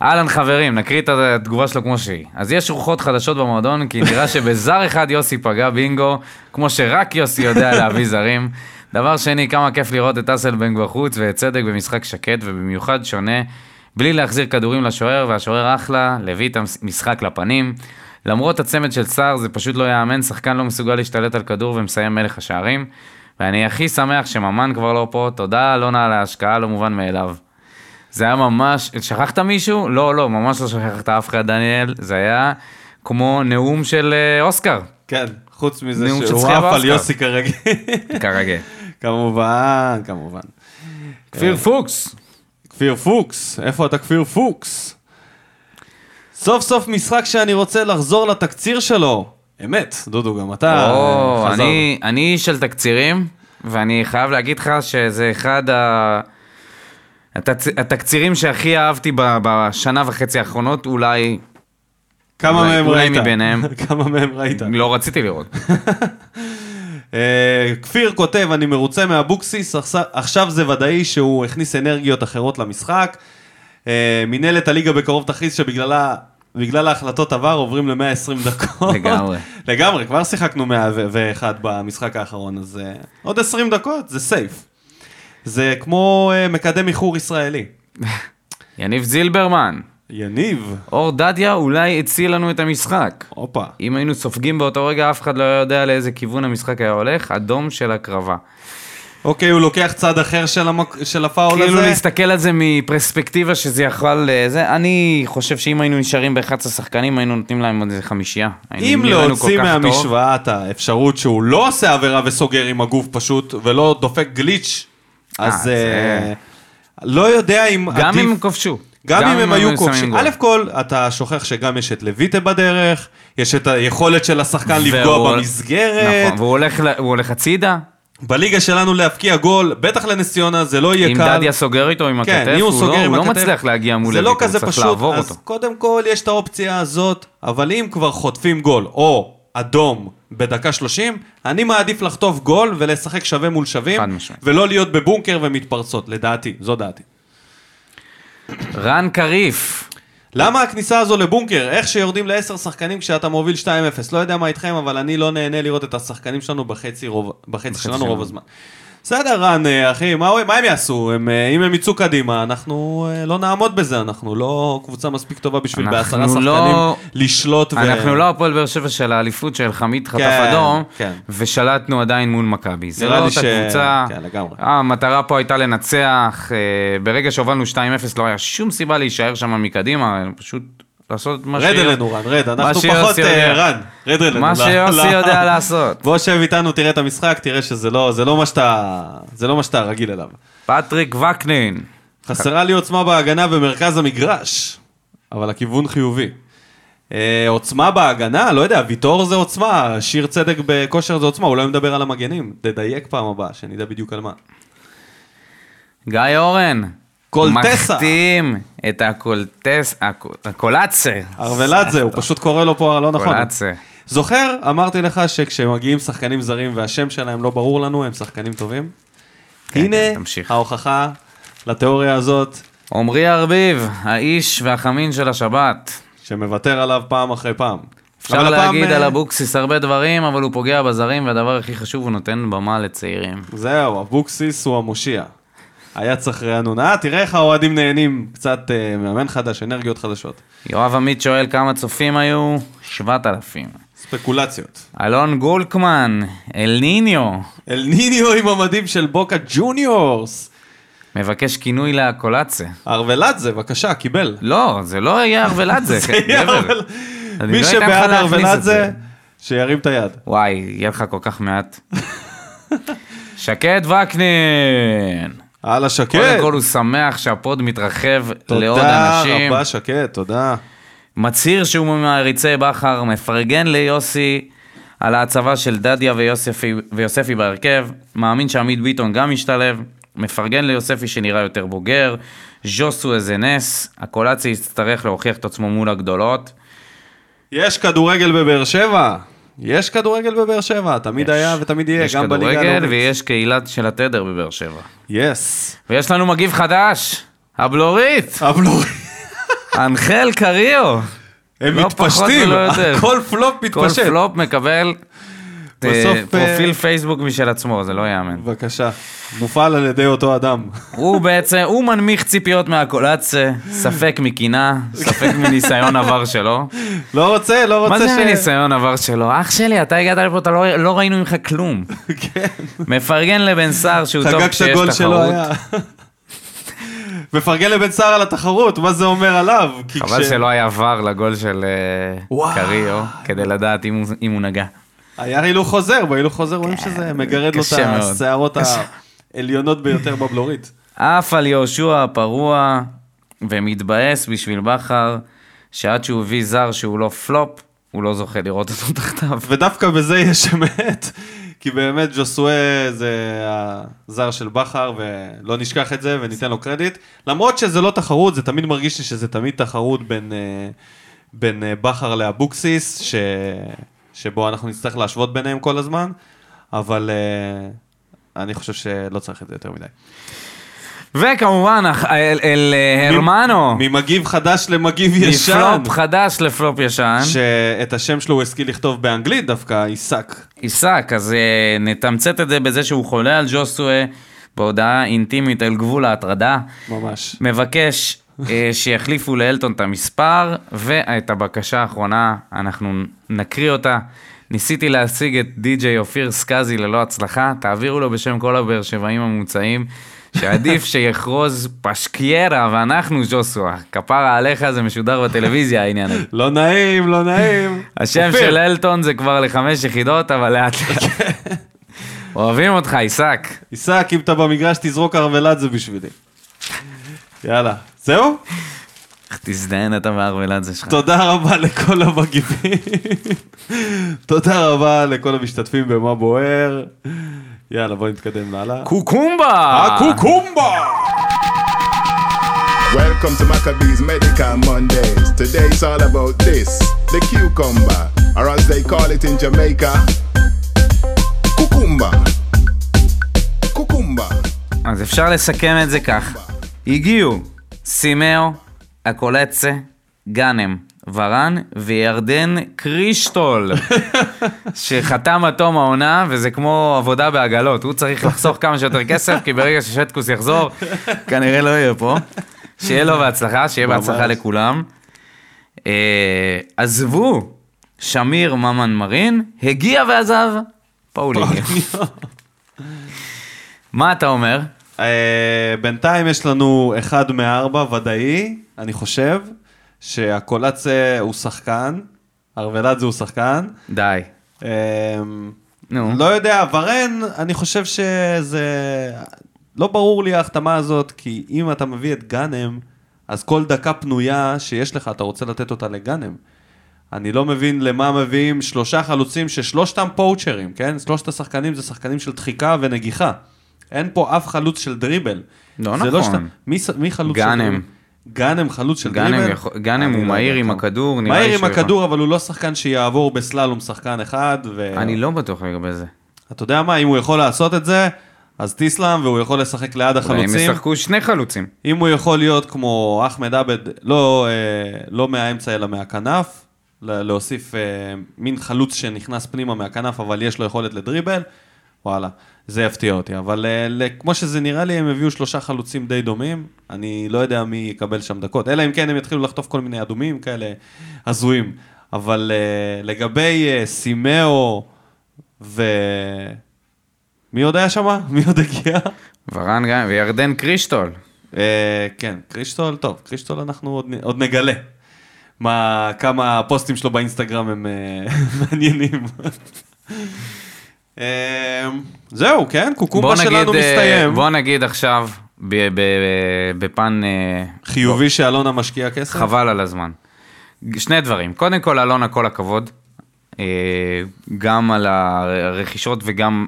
Speaker 2: אהלן חברים, נקריא את התגובה שלו כמו שהיא. אז יש רוחות חדשות במועדון, כי נראה שבזר אחד יוסי פגע בינגו, כמו שרק יוסי יודע להביא זרים. דבר שני, כמה כיף לראות את אסלבנג בחוץ ואת צדק במשחק שקט ובמיוחד שונה, בלי להחזיר כדורים לשוער, והשוער אחלה, לביא את המשחק לפנים. למרות הצמד של סער, זה פשוט לא יאמן, שחקן לא מסוגל להשתלט על כדור ומסיים מלך השערים. ואני הכי שמח שממן כבר לא פה, תודה אלונה על ההשקעה, לא מובן מאליו. זה היה ממש, שכחת מישהו? לא, לא, ממש לא שכחת אף אחד, דניאל. זה היה כמו נאום של אה, אוסקר,
Speaker 1: כן, חוץ מזה
Speaker 2: נאום של
Speaker 1: שהוא
Speaker 2: זכייה
Speaker 1: עף על
Speaker 2: באוסקר.
Speaker 1: יוסי כרגע.
Speaker 2: כרגיל.
Speaker 1: כמובן, כמובן.
Speaker 2: כפיר פוקס.
Speaker 1: כפיר פוקס, איפה אתה כפיר פוקס? סוף סוף משחק שאני רוצה לחזור לתקציר שלו. אמת, דודו, גם אתה
Speaker 2: או,
Speaker 1: אה, חזרת.
Speaker 2: אני- אני איש של תקצירים, ואני חייב להגיד לך שזה אחד ה... התצ- התקצירים שהכי אהבתי ב- בשנה וחצי האחרונות, אולי
Speaker 1: כמה
Speaker 2: אולי-
Speaker 1: מהם
Speaker 2: אולי
Speaker 1: ראית?
Speaker 2: מביניהם.
Speaker 1: כמה מהם ראית?
Speaker 2: לא רציתי לראות.
Speaker 1: אה, כפיר כותב, אני מרוצה מאבוקסיס, עכשיו- עכשיו זה ודאי שהוא הכניס אנרגיות אחרות למשחק. אה, מינהלת הליגה בקרוב תכריז שבגללה... בגלל ההחלטות עבר עוברים ל-120 דקות.
Speaker 2: לגמרי.
Speaker 1: לגמרי, כבר שיחקנו 101 במשחק האחרון, אז אה, עוד 20 דקות, זה סייף. זה כמו אה, מקדם איחור ישראלי.
Speaker 2: יניב זילברמן,
Speaker 1: יניב.
Speaker 2: אור דדיה אולי הציל לנו את המשחק.
Speaker 1: הופה.
Speaker 2: אם היינו סופגים באותו רגע, אף אחד לא היה יודע לאיזה כיוון המשחק היה הולך, אדום של הקרבה.
Speaker 1: אוקיי, הוא לוקח צד אחר של, המק... של הפאול
Speaker 2: כאילו
Speaker 1: הזה.
Speaker 2: להסתכל על זה מפרספקטיבה שזה יכול... אה, זה, אני חושב שאם היינו נשארים ב-11 שחקנים, היינו נותנים להם עוד איזה חמישייה. היינו
Speaker 1: אם
Speaker 2: נראינו
Speaker 1: להוציא
Speaker 2: כל כך טוב.
Speaker 1: מהמשוואה את האפשרות שהוא לא עושה עבירה וסוגר עם הגוף פשוט, ולא דופק גליץ',
Speaker 2: אה,
Speaker 1: אז
Speaker 2: זה-
Speaker 1: אה, לא יודע אם
Speaker 2: גם
Speaker 1: עדיף-
Speaker 2: אם הם כבשו.
Speaker 1: גם אם הם היו כובשים.
Speaker 2: שמים
Speaker 1: א'
Speaker 2: גול.
Speaker 1: כל, אתה שוכח שגם יש את לויטה בדרך, יש את היכולת של השחקן
Speaker 2: והוא-
Speaker 1: לפגוע במסגרת.
Speaker 2: נכון, והוא הולך ל- הוא הולך הצידה,
Speaker 1: בליגה שלנו להבקיע גול, בטח לנס ציונה, זה לא יהיה
Speaker 2: אם
Speaker 1: קל.
Speaker 2: דדיה סוגר איתו עם
Speaker 1: כן,
Speaker 2: הכתף,
Speaker 1: אם הוא
Speaker 2: הוא לא-
Speaker 1: סוגר עם
Speaker 2: הוא לא
Speaker 1: הכתף,
Speaker 2: מצליח להגיע מול
Speaker 1: זה
Speaker 2: לויטה,
Speaker 1: לא
Speaker 2: הוא
Speaker 1: כזה
Speaker 2: צריך
Speaker 1: פשוט,
Speaker 2: לעבור
Speaker 1: אז
Speaker 2: אותו.
Speaker 1: קודם כל יש את האופציה הזאת, אבל אם כבר חוטפים גול, או אדום בדקה 30, אני מעדיף לחטוף גול ולשחק שווה מול שווים,
Speaker 2: חד משמעית.
Speaker 1: ולא להיות בבונקר ומתפרצות, לדעתי, זו דעתי.
Speaker 2: רן קריף,
Speaker 1: למה הכניסה הזו לבונקר? איך שיורדים לעשר שחקנים כשאתה מוביל 2-0? לא יודע מה איתכם, אבל אני לא נהנה לראות את השחקנים שלנו בחצי, רוב, בחצי, שלנו
Speaker 2: שלנו.
Speaker 1: רוב הזמן. בסדר, רן, אה, אחי, מה, הוא- מה הם יעשו? הם, אה, אם הם יצאו קדימה, אנחנו אה, לא נעמוד בזה, אנחנו לא קבוצה מספיק טובה בשביל
Speaker 2: אנחנו
Speaker 1: בעשרה שחקנים
Speaker 2: לא-
Speaker 1: לשלוט ו...
Speaker 2: אנחנו לא הפועל באר שבע של האליפות של חמיד חטף
Speaker 1: כן,
Speaker 2: אדום,
Speaker 1: כן.
Speaker 2: ושלטנו עדיין מול מכבי. זה
Speaker 1: נראה
Speaker 2: לא
Speaker 1: לי
Speaker 2: אותה
Speaker 1: ש-
Speaker 2: קבוצה.
Speaker 1: כן, לגמרי.
Speaker 2: המטרה פה הייתה לנצח, אה, ברגע שהובלנו 2-0 לא היה שום סיבה להישאר שם מקדימה, פשוט לעשות מה
Speaker 1: רד
Speaker 2: ש-
Speaker 1: אלינו, רן, רד, אנחנו
Speaker 2: שיוסי
Speaker 1: פחות... אה,
Speaker 2: יודע.
Speaker 1: רן, רד אלינו.
Speaker 2: מה
Speaker 1: לא-
Speaker 2: שיוסי
Speaker 1: לא-
Speaker 2: יודע לעשות.
Speaker 1: בוא שב איתנו, תראה את המשחק, תראה שזה לא, זה לא מה שאתה... זה לא מה שאתה רגיל אליו.
Speaker 2: פטריק וקנין.
Speaker 1: חסרה לי עוצמה בהגנה במרכז המגרש, אבל הכיוון חיובי. אה, עוצמה בהגנה, לא יודע, ויטור זה עוצמה, שיר צדק בכושר זה עוצמה, אולי מדבר על המגנים. תדייק פעם הבאה, שנדע בדיוק על מה.
Speaker 2: גיא אורן.
Speaker 1: קולטסה.
Speaker 2: מחתים את הקולטס... הקול- הקולאצה.
Speaker 1: ארוולדזה, הוא פשוט קורא לו פה לא נכון.
Speaker 2: קולאצה.
Speaker 1: זוכר, אמרתי לך שכשמגיעים שחקנים זרים והשם שלהם לא ברור לנו, הם שחקנים טובים?
Speaker 2: כן,
Speaker 1: הנה
Speaker 2: כן, תמשיך.
Speaker 1: ההוכחה לתיאוריה הזאת,
Speaker 2: עמרי ארביב, האיש והחמין של השבת.
Speaker 1: שמוותר עליו פעם אחרי פעם.
Speaker 2: אפשר
Speaker 1: אבל הפעם,
Speaker 2: להגיד
Speaker 1: אה,
Speaker 2: על אבוקסיס הרבה דברים, אבל הוא פוגע בזרים, והדבר הכי חשוב, הוא נותן במה לצעירים.
Speaker 1: זהו, אבוקסיס הוא המושיע. היה צריך רענונה. אה, תראה איך האוהדים נהנים, קצת אה, מאמן חדש, אנרגיות חדשות.
Speaker 2: יואב עמית שואל כמה צופים היו? 7,000.
Speaker 1: ספקולציות.
Speaker 2: אלון גולקמן, אל ניניו,
Speaker 1: אל ניניו עם המדים של בוקה ג'וניורס.
Speaker 2: מבקש כינוי לקולאצה.
Speaker 1: ארוולדזה, בבקשה, קיבל.
Speaker 2: לא, זה לא יהיה ארוולדזה,
Speaker 1: זה יהיה
Speaker 2: גבר.
Speaker 1: ארוול-
Speaker 2: אני
Speaker 1: מי
Speaker 2: לא אתן לך
Speaker 1: שבעד
Speaker 2: להכניס את
Speaker 1: ארוולדזה,
Speaker 2: זה.
Speaker 1: שירים את היד.
Speaker 2: וואי, יהיה לך כל כך מעט. שקד וקנין!
Speaker 1: הלאה, שקד.
Speaker 2: קודם כל הוא שמח שהפוד מתרחב לעוד
Speaker 1: כן. תודה
Speaker 2: אנשים.
Speaker 1: רבה, שקד, תודה.
Speaker 2: מצהיר שהוא ממעריצי בכר, מפרגן ליוסי על ההצבה של דדיה ויוספי, ויוספי בהרכב, מאמין שעמית ביטון גם משתלב, מפרגן ליוספי שנראה יותר בוגר, ז'וסו איזה נס, הקולאצי יצטרך להוכיח את עצמו מול הגדולות.
Speaker 1: יש כדורגל בבאר שבע. יש כדורגל בבאר שבע, תמיד היה ותמיד יהיה,
Speaker 2: יש
Speaker 1: גם בליגה
Speaker 2: כדורגל
Speaker 1: הלאומית.
Speaker 2: ויש קהילה של התדר בבאר שבע.
Speaker 1: יס.
Speaker 2: ויש לנו מגיב חדש, הבלורית,
Speaker 1: הבלורית.
Speaker 2: אנחל קריו.
Speaker 1: הם
Speaker 2: לא פחות
Speaker 1: מתפשטים,
Speaker 2: ולא יותר.
Speaker 1: כל פלופ
Speaker 2: כל
Speaker 1: מתפשט.
Speaker 2: פלופ מקבל אה,
Speaker 1: בסוף, אה,
Speaker 2: פרופיל פייסבוק משל עצמו, זה לא יאמן.
Speaker 1: בבקשה, מופעל על ידי אותו אדם.
Speaker 2: הוא בעצם, הוא מנמיך ציפיות מהקולאצה, ספק מקינה, ספק מניסיון עבר שלו.
Speaker 1: לא רוצה, לא רוצה
Speaker 2: מה
Speaker 1: ש...
Speaker 2: זה מניסיון עבר שלו? אח שלי, אתה הגעת לפה, אתה לא- לא ראינו ממך כלום.
Speaker 1: כן,
Speaker 2: מפרגן לבן סער שהוא טוב
Speaker 1: חגגת
Speaker 2: כשיש
Speaker 1: גול שלא
Speaker 2: תחרות.
Speaker 1: היה. מפרגן לבן סער על התחרות, מה זה אומר עליו? כי
Speaker 2: חבל
Speaker 1: כש-
Speaker 2: שלא היה עבר לגול של אה,
Speaker 1: וואו.
Speaker 2: קריו, כדי לדעת אם הוא- אם הוא נגע.
Speaker 1: היה הילוך חוזר, בהילוך חוזר רואים שזה מגרד לו את
Speaker 2: כן, קשה מאוד.
Speaker 1: השערות העליונות ביותר בבלורית.
Speaker 2: עף על יהושע הפרוע ומתבאס בשביל בכר, שעד שהוא הביא זר שהוא לא פלופ, הוא לא זוכה לראות אותו תחתיו.
Speaker 1: ודווקא בזה יש אמת, כי באמת ג'וסואה זה הזר של בכר, ולא נשכח את זה וניתן לו קרדיט. למרות שזה לא תחרות, זה תמיד מרגיש לי שזה תמיד תחרות בין, אה, בין אה, בכר לאבוקסיס, ש... שבו אנחנו נצטרך להשוות ביניהם כל הזמן, אבל אה, אני חושב שלא צריך את זה יותר מדי.
Speaker 2: וכמובן, אח- אל, אל אה, הרמנו,
Speaker 1: ממגיב חדש למגיב ישן,
Speaker 2: מפלופ חדש לפלופ ישן.
Speaker 1: שאת השם שלו הוא השכיל לכתוב באנגלית דווקא, עיסק.
Speaker 2: עיסק, אז אה, נתמצת את זה בזה שהוא חולה על ג'וסואה בהודעה אינטימית אל גבול ההטרדה.
Speaker 1: ממש.
Speaker 2: מבקש אה, שיחליפו לאלטון את המספר, ואת הבקשה האחרונה, אנחנו נקריא אותה. ניסיתי להשיג את די.ג'יי אופיר סקאזי ללא הצלחה, תעבירו לו בשם כל הבאר שבעים המוצעים, שעדיף שיחרוז פשקיירה ואנחנו ז'וסווה. כפרה עליך, זה משודר בטלוויזיה העניין הזה.
Speaker 1: לא נעים, לא נעים.
Speaker 2: השם
Speaker 1: אופיר.
Speaker 2: של אלטון זה כבר לחמש יחידות, אבל לאט לאט. אוהבים אותך, עיסק.
Speaker 1: עיסק, אם אתה במגרש תזרוק ערבלת זה בשבילי. יאללה, זהו?
Speaker 2: איך תזדיין אתה והארוולדזה שלך.
Speaker 1: תודה רבה לכל המגיבים. תודה רבה לכל המשתתפים במה בוער. יאללה, בוא נתקדם הלאה.
Speaker 2: קוקומבה!
Speaker 1: הקוקומבה!
Speaker 4: Welcome to Maccabees Medical Mondays. Today it's all about this the cucumber, or as they call it in Jamaica, cucumba. Cucumba.
Speaker 2: אז אפשר לסכם את זה כך. הגיעו סימאו, אקולצה, גאנם, ורן וירדן קרישטול, שחתם עד תום העונה, וזה כמו עבודה בעגלות. הוא צריך לחסוך כמה שיותר כסף, כי ברגע ששטקוס יחזור, כנראה לא יהיה פה. שיהיה לו בהצלחה, שיהיה בהצלחה לכולם. אה, עזבו, שמיר ממן מרין, הגיע ועזב, פאוליגיה. מה אתה אומר?
Speaker 1: אה, בינתיים יש לנו אחד מארבע ודאי, אני חושב, שהקולצה הוא שחקן, ארוולדזה הוא שחקן.
Speaker 2: די.
Speaker 1: אה,
Speaker 2: נו.
Speaker 1: לא יודע, ורן, אני חושב שזה... לא ברור לי ההחתמה הזאת, כי אם אתה מביא את גאנם, אז כל דקה פנויה שיש לך, אתה רוצה לתת אותה לגאנם. אני לא מבין למה מביאים שלושה חלוצים ששלושתם פואוצ'רים, כן? שלושת השחקנים זה שחקנים של דחיקה ונגיחה. אין פה אף חלוץ של דריבל.
Speaker 2: לא
Speaker 1: זה
Speaker 2: נכון.
Speaker 1: שת- מי, ס- מי חלוץ של
Speaker 2: גאנם.
Speaker 1: דריבל? גאנם חלוץ של
Speaker 2: גאנם
Speaker 1: דריבל?
Speaker 2: יכול- גאנם
Speaker 1: אני
Speaker 2: הוא
Speaker 1: לא
Speaker 2: מהיר
Speaker 1: יודע
Speaker 2: עם
Speaker 1: כמה.
Speaker 2: הכדור, נראה לי
Speaker 1: מהיר עם
Speaker 2: שהוא יכול.
Speaker 1: הכדור, אבל הוא לא שחקן שיעבור בסללום שחקן אחד. ו...
Speaker 2: אני לא בטוח לגבי זה.
Speaker 1: אתה יודע מה, אם הוא יכול לעשות את זה, אז תיסלאם, והוא יכול לשחק ליד
Speaker 2: אולי הם
Speaker 1: החלוצים.
Speaker 2: ישחקו שני חלוצים.
Speaker 1: אם הוא יכול להיות כמו אחמד עבד, לא, אה, לא מהאמצע אלא מהכנף, ל- להוסיף אה, מין חלוץ שנכנס פנימה מהכנף, אבל יש לו יכולת לדריבל, וואלה, זה יפתיע אותי. אבל אה, ל- כמו שזה נראה לי, הם הביאו שלושה חלוצים די דומים, אני לא יודע מי יקבל שם דקות, אלא אם כן הם יתחילו לחטוף כל מיני אדומים כאלה הזויים. אבל אה, לגבי אה, סימאו ו... מי עוד היה שם? מי עוד הגיע?
Speaker 2: ורן גאנם וירדן קרישטול.
Speaker 1: אה, כן, קרישטול, טוב, קרישטול אנחנו עוד, נ- עוד נגלה. מה, כמה הפוסטים שלו באינסטגרם הם אה, מעניינים. אה, זהו, כן,
Speaker 2: בוא
Speaker 1: קוקומבה שלנו
Speaker 2: נגיד, אה,
Speaker 1: מסתיים.
Speaker 2: בוא נגיד עכשיו, ב- ב- בפן אה,
Speaker 1: חיובי שאלונה משקיעה כסף?
Speaker 2: חבל על הזמן. שני דברים. קודם כל, אלונה, כל הכבוד. אה, גם על הרכישות וגם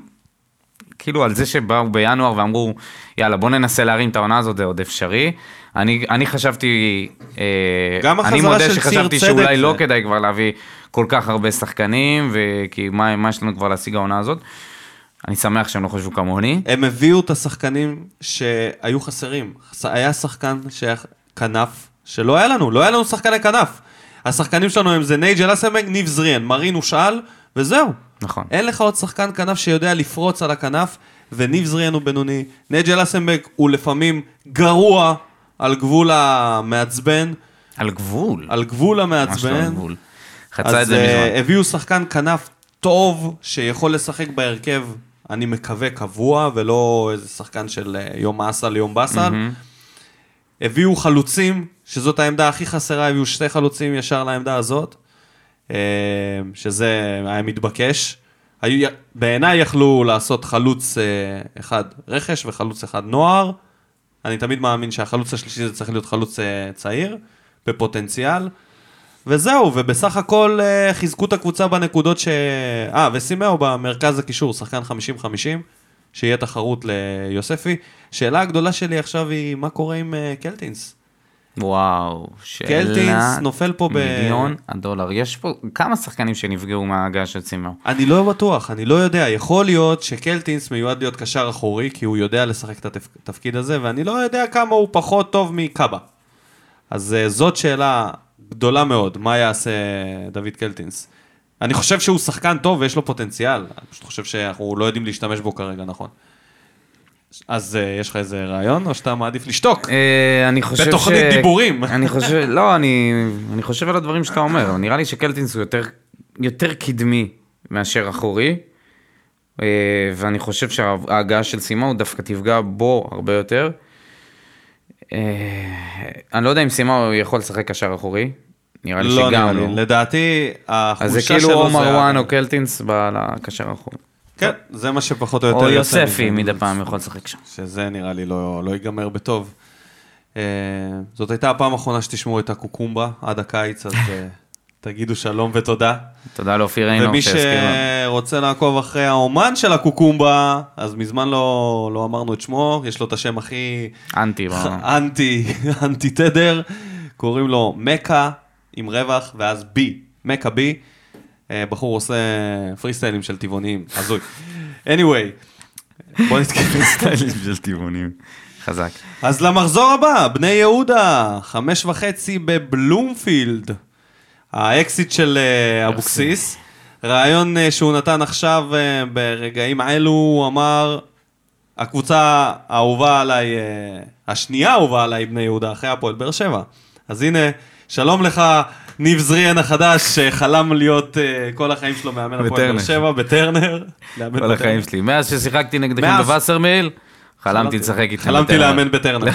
Speaker 2: כאילו על זה שבאו בינואר ואמרו, יאללה, בוא ננסה להרים את העונה הזאת, זה עוד אפשרי. אני, אני חשבתי, אה,
Speaker 1: גם
Speaker 2: אני
Speaker 1: החזרה של
Speaker 2: מודה
Speaker 1: ציר
Speaker 2: שחשבתי
Speaker 1: צדק
Speaker 2: שאולי
Speaker 1: זה-
Speaker 2: לא כדאי כבר להביא כל כך הרבה שחקנים, וכי מה, מה יש לנו כבר להשיג העונה הזאת. אני שמח שהם לא חשבו כמוני.
Speaker 1: הם הביאו את השחקנים שהיו חסרים. ש- היה שחקן שהיה כנף, שלא היה לנו, לא היה לנו שחקני כנף. השחקנים שלנו הם זה נייג'ל אסמג, ניב זריאן, מרין הושאל, וזהו.
Speaker 2: נכון.
Speaker 1: אין לך עוד שחקן כנף שיודע לפרוץ על הכנף, וניב זריאן הוא בינוני. נייג'ל אסמג הוא לפעמים גרוע על גבול המעצבן,
Speaker 2: על גבול.
Speaker 1: על גבול
Speaker 2: ממש לא על
Speaker 1: המעצבן.
Speaker 2: גבול. חצה את
Speaker 1: אז
Speaker 2: זה מזמן.
Speaker 1: אה, הביאו שחקן כנף טוב שיכול לשחק בהרכב, אני מקווה, קבוע, ולא איזה שחקן של אה, יום אסל ליום באסל. הביאו חלוצים, שזאת העמדה הכי חסרה, הביאו שתי חלוצים ישר לעמדה הזאת, אה, שזה היה מתבקש. היו- בעיניי יכלו לעשות חלוץ אה, אחד רכש וחלוץ אחד נוער. אני תמיד מאמין שהחלוץ השלישי זה צריך להיות חלוץ אה, צעיר, בפוטנציאל. וזהו, ובסך הכל אה, חיזקו את הקבוצה בנקודות ש... אה, וסימאו במרכז הקישור, שחקן 50-50, שיהיה תחרות ליוספי. שאלה הגדולה שלי עכשיו היא, מה קורה עם אה, קלטינס?
Speaker 2: וואו, שאלה...
Speaker 1: קלטינס נופל פה ב-
Speaker 2: מיליון הדולר. יש פה כמה שחקנים שנפגעו מההגעה של צימר.
Speaker 1: אני לא בטוח, אני לא יודע. יכול להיות שקלטינס מיועד להיות קשר אחורי, כי הוא יודע לשחק את התפ- התפקיד הזה, ואני לא יודע כמה הוא פחות טוב מקאבה. אז אה, זאת שאלה גדולה מאוד, מה יעשה דוד קלטינס? אני חושב שהוא שחקן טוב ויש לו פוטנציאל, אני פשוט חושב שאנחנו לא יודעים להשתמש בו כרגע, נכון. אז אה, יש לך איזה רעיון, או שאתה מעדיף לשתוק?
Speaker 2: אה, אני חושב
Speaker 1: בתוכנית
Speaker 2: ש...
Speaker 1: דיבורים.
Speaker 2: אני חושב, לא, אני, אני חושב על הדברים שאתה אומר. נראה לי שקלטינס הוא יותר, יותר קדמי מאשר אחורי, אה, ואני חושב שההגעה של סימאו דווקא תפגע בו הרבה יותר. אה, אני לא יודע אם סימאו יכול לשחק קשר אחורי, נראה לי
Speaker 1: לא נראה
Speaker 2: שגם
Speaker 1: לי.
Speaker 2: לא.
Speaker 1: לדעתי,
Speaker 2: אז זה
Speaker 1: החולשה שלו
Speaker 2: כאילו או מרואן
Speaker 1: ה-
Speaker 2: או קלטינס בקשר האחורי.
Speaker 1: כן, זה מה שפחות או יותר...
Speaker 2: או
Speaker 1: יוצא
Speaker 2: יוספי
Speaker 1: מזה.
Speaker 2: מדי פעם יכול לשחק שם.
Speaker 1: שזה נראה לי לא, לא ייגמר בטוב. אה, זאת הייתה הפעם האחרונה שתשמעו את הקוקומבה עד הקיץ, אז אה, תגידו שלום ותודה.
Speaker 2: תודה לאופיר איינור
Speaker 1: ומי
Speaker 2: שהזכיר לנו.
Speaker 1: שרוצה לעקוב אחרי האומן של הקוקומבה, אז מזמן לא, לא אמרנו את שמו, יש לו את השם הכי
Speaker 2: אנטי. ברמה.
Speaker 1: אנטי, אנטי תדר, קוראים לו מכה עם רווח, ואז בי, מכה בי. אה, בחור עושה פרי סטיילים של טבעוניים, הזוי. anyway, בוא נתכנס
Speaker 2: סטיילים של טבעונים. חזק.
Speaker 1: אז למחזור הבא, בני יהודה, חמש וחצי בבלומפילד. האקסיט של אה, אבוקסיס. רעיון אה, שהוא נתן עכשיו אה, ברגעים אלו, הוא אמר, הקבוצה האהובה עליי, אה, השנייה האהובה עליי, בני יהודה, אחרי הפועל באר שבע. אז הנה, שלום לך, ניב זריאן החדש, שחלם להיות אה, כל החיים שלו מאמן הפועל באר
Speaker 2: בטרנר.
Speaker 1: שבע, בטרנר. לאמן
Speaker 2: כל
Speaker 1: בטרנר.
Speaker 2: החיים שלי. מאז ששיחקתי נגדכם
Speaker 1: מאז-
Speaker 2: בווסרמיל, חלמתי לשחק איתכם.
Speaker 1: חלמתי
Speaker 2: בטרנר.
Speaker 1: לאמן בטרנר.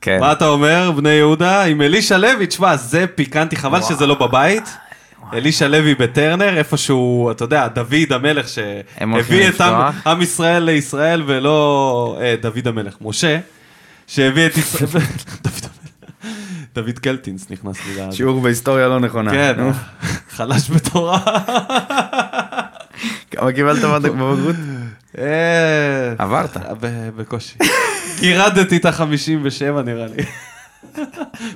Speaker 2: כן.
Speaker 1: מה אתה אומר, בני יהודה? עם אלישע לוי, תשמע, זה פיקנטי, חבל שזה לא בבית. אלישע לוי בטרנר, איפשהו, אתה יודע, דוד המלך
Speaker 2: הם הולכים
Speaker 1: שהביא את עם,
Speaker 2: לפתוח.
Speaker 1: עם ישראל לישראל, ולא אה, דוד המלך, משה, שהביא את ישראל... דוד המלך. דוד קלטינס נכנס לי לעד.
Speaker 2: שיעור בהיסטוריה לא נכונה.
Speaker 1: כן, חלש בתורה.
Speaker 2: כמה קיבלת בבגרות?
Speaker 1: אה,
Speaker 2: עברת.
Speaker 1: ב- בקושי. גירדתי את ה-57 נראה לי.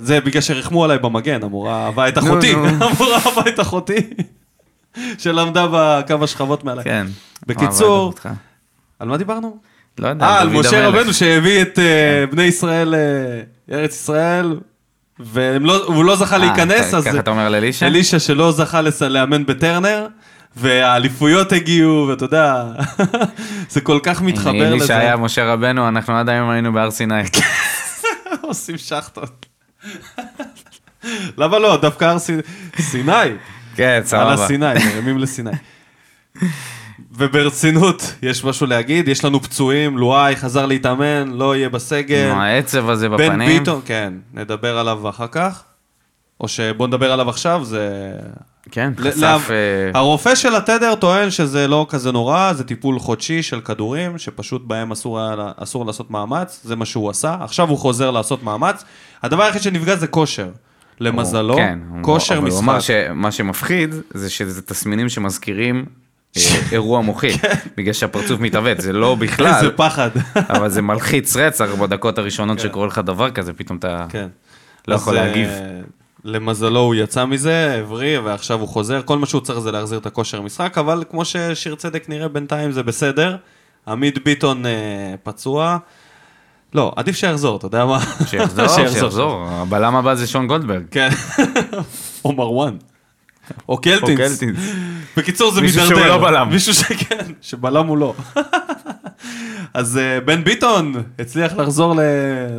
Speaker 1: זה בגלל שרחמו עליי במגן, המורה אהבה את אחותי,
Speaker 2: נו.
Speaker 1: המורה אהבה את אחותי, שלמדה בכמה שכבות מעליי.
Speaker 2: כן.
Speaker 1: בקיצור,
Speaker 2: מה, מה, מה,
Speaker 1: על מה דיברנו?
Speaker 2: לא יודע.
Speaker 1: אה, על
Speaker 2: דוד
Speaker 1: משה
Speaker 2: המלך. כן.
Speaker 1: רבנו שהביא את אה, בני ישראל אה, לארץ ישראל, והוא לא זכה
Speaker 2: אה,
Speaker 1: להיכנס,
Speaker 2: אתה-
Speaker 1: אז
Speaker 2: ככה אתה אומר לאלישע?
Speaker 1: אלישע שלא זכה לס- לאמן בטרנר, והאליפויות הגיעו, ואתה יודע, זה כל כך
Speaker 2: הנה,
Speaker 1: מתחבר
Speaker 2: אלישע
Speaker 1: לזה.
Speaker 2: היה משה רבנו, אנחנו עד היום היינו בהר סיני.
Speaker 1: עושים שחטות. למה לא? דווקא הר סיני. סיני.
Speaker 2: כן,
Speaker 1: על
Speaker 2: סבבה.
Speaker 1: הסיני, מרימים לסיני. וברצינות, יש משהו להגיד? יש לנו פצועים, לואי חזר להתאמן, לא יהיה בסגל.
Speaker 2: נו, העצב הזה
Speaker 1: בן
Speaker 2: בפנים.
Speaker 1: ביטון, כן, נדבר עליו אחר כך. או שבוא נדבר עליו עכשיו, זה...
Speaker 2: כן,
Speaker 1: ל-
Speaker 2: חשף...
Speaker 1: לה-
Speaker 2: אה,
Speaker 1: הרופא של התדר טוען שזה לא כזה נורא, זה טיפול חודשי של כדורים, שפשוט בהם אסור, היה- אסור לעשות מאמץ, זה מה שהוא עשה, עכשיו הוא חוזר לעשות מאמץ. הדבר היחיד שנפגע זה כושר. למזלו,
Speaker 2: כן, הוא-
Speaker 1: כושר
Speaker 2: אבל הוא אמר
Speaker 1: משחק.
Speaker 2: שמה שמפחיד זה שזה תסמינים שמזכירים אה, אירוע מוחי, בגלל שהפרצוף מתעוות, זה לא בכלל,
Speaker 1: כן. איזה פחד.
Speaker 2: אבל זה מלחיץ רצח בדקות הראשונות שקורה לך דבר כזה, פתאום אתה...
Speaker 1: כן.
Speaker 2: לא
Speaker 1: אז,
Speaker 2: יכול
Speaker 1: אה,
Speaker 2: להגיב.
Speaker 1: למזלו הוא יצא מזה, הבריא, ועכשיו הוא חוזר. כל מה שהוא צריך זה להחזיר את הכושר משחק, אבל כמו ששיר צדק נראה בינתיים זה בסדר. עמית ביטון אה, פצוע. לא, עדיף שיחזור, אתה יודע מה?
Speaker 2: שיחזור, שיחזור, הבלם הבא זה שון גולדברג.
Speaker 1: כן. או מרואן. או
Speaker 2: או
Speaker 1: קלטינס.
Speaker 2: קלטינס.
Speaker 1: בקיצור, זה
Speaker 2: מישהו
Speaker 1: מידרדר.
Speaker 2: שהוא לא בלם.
Speaker 1: מישהו שכן, שבלם הוא לא. אז אה, בן ביטון הצליח לחזור ל-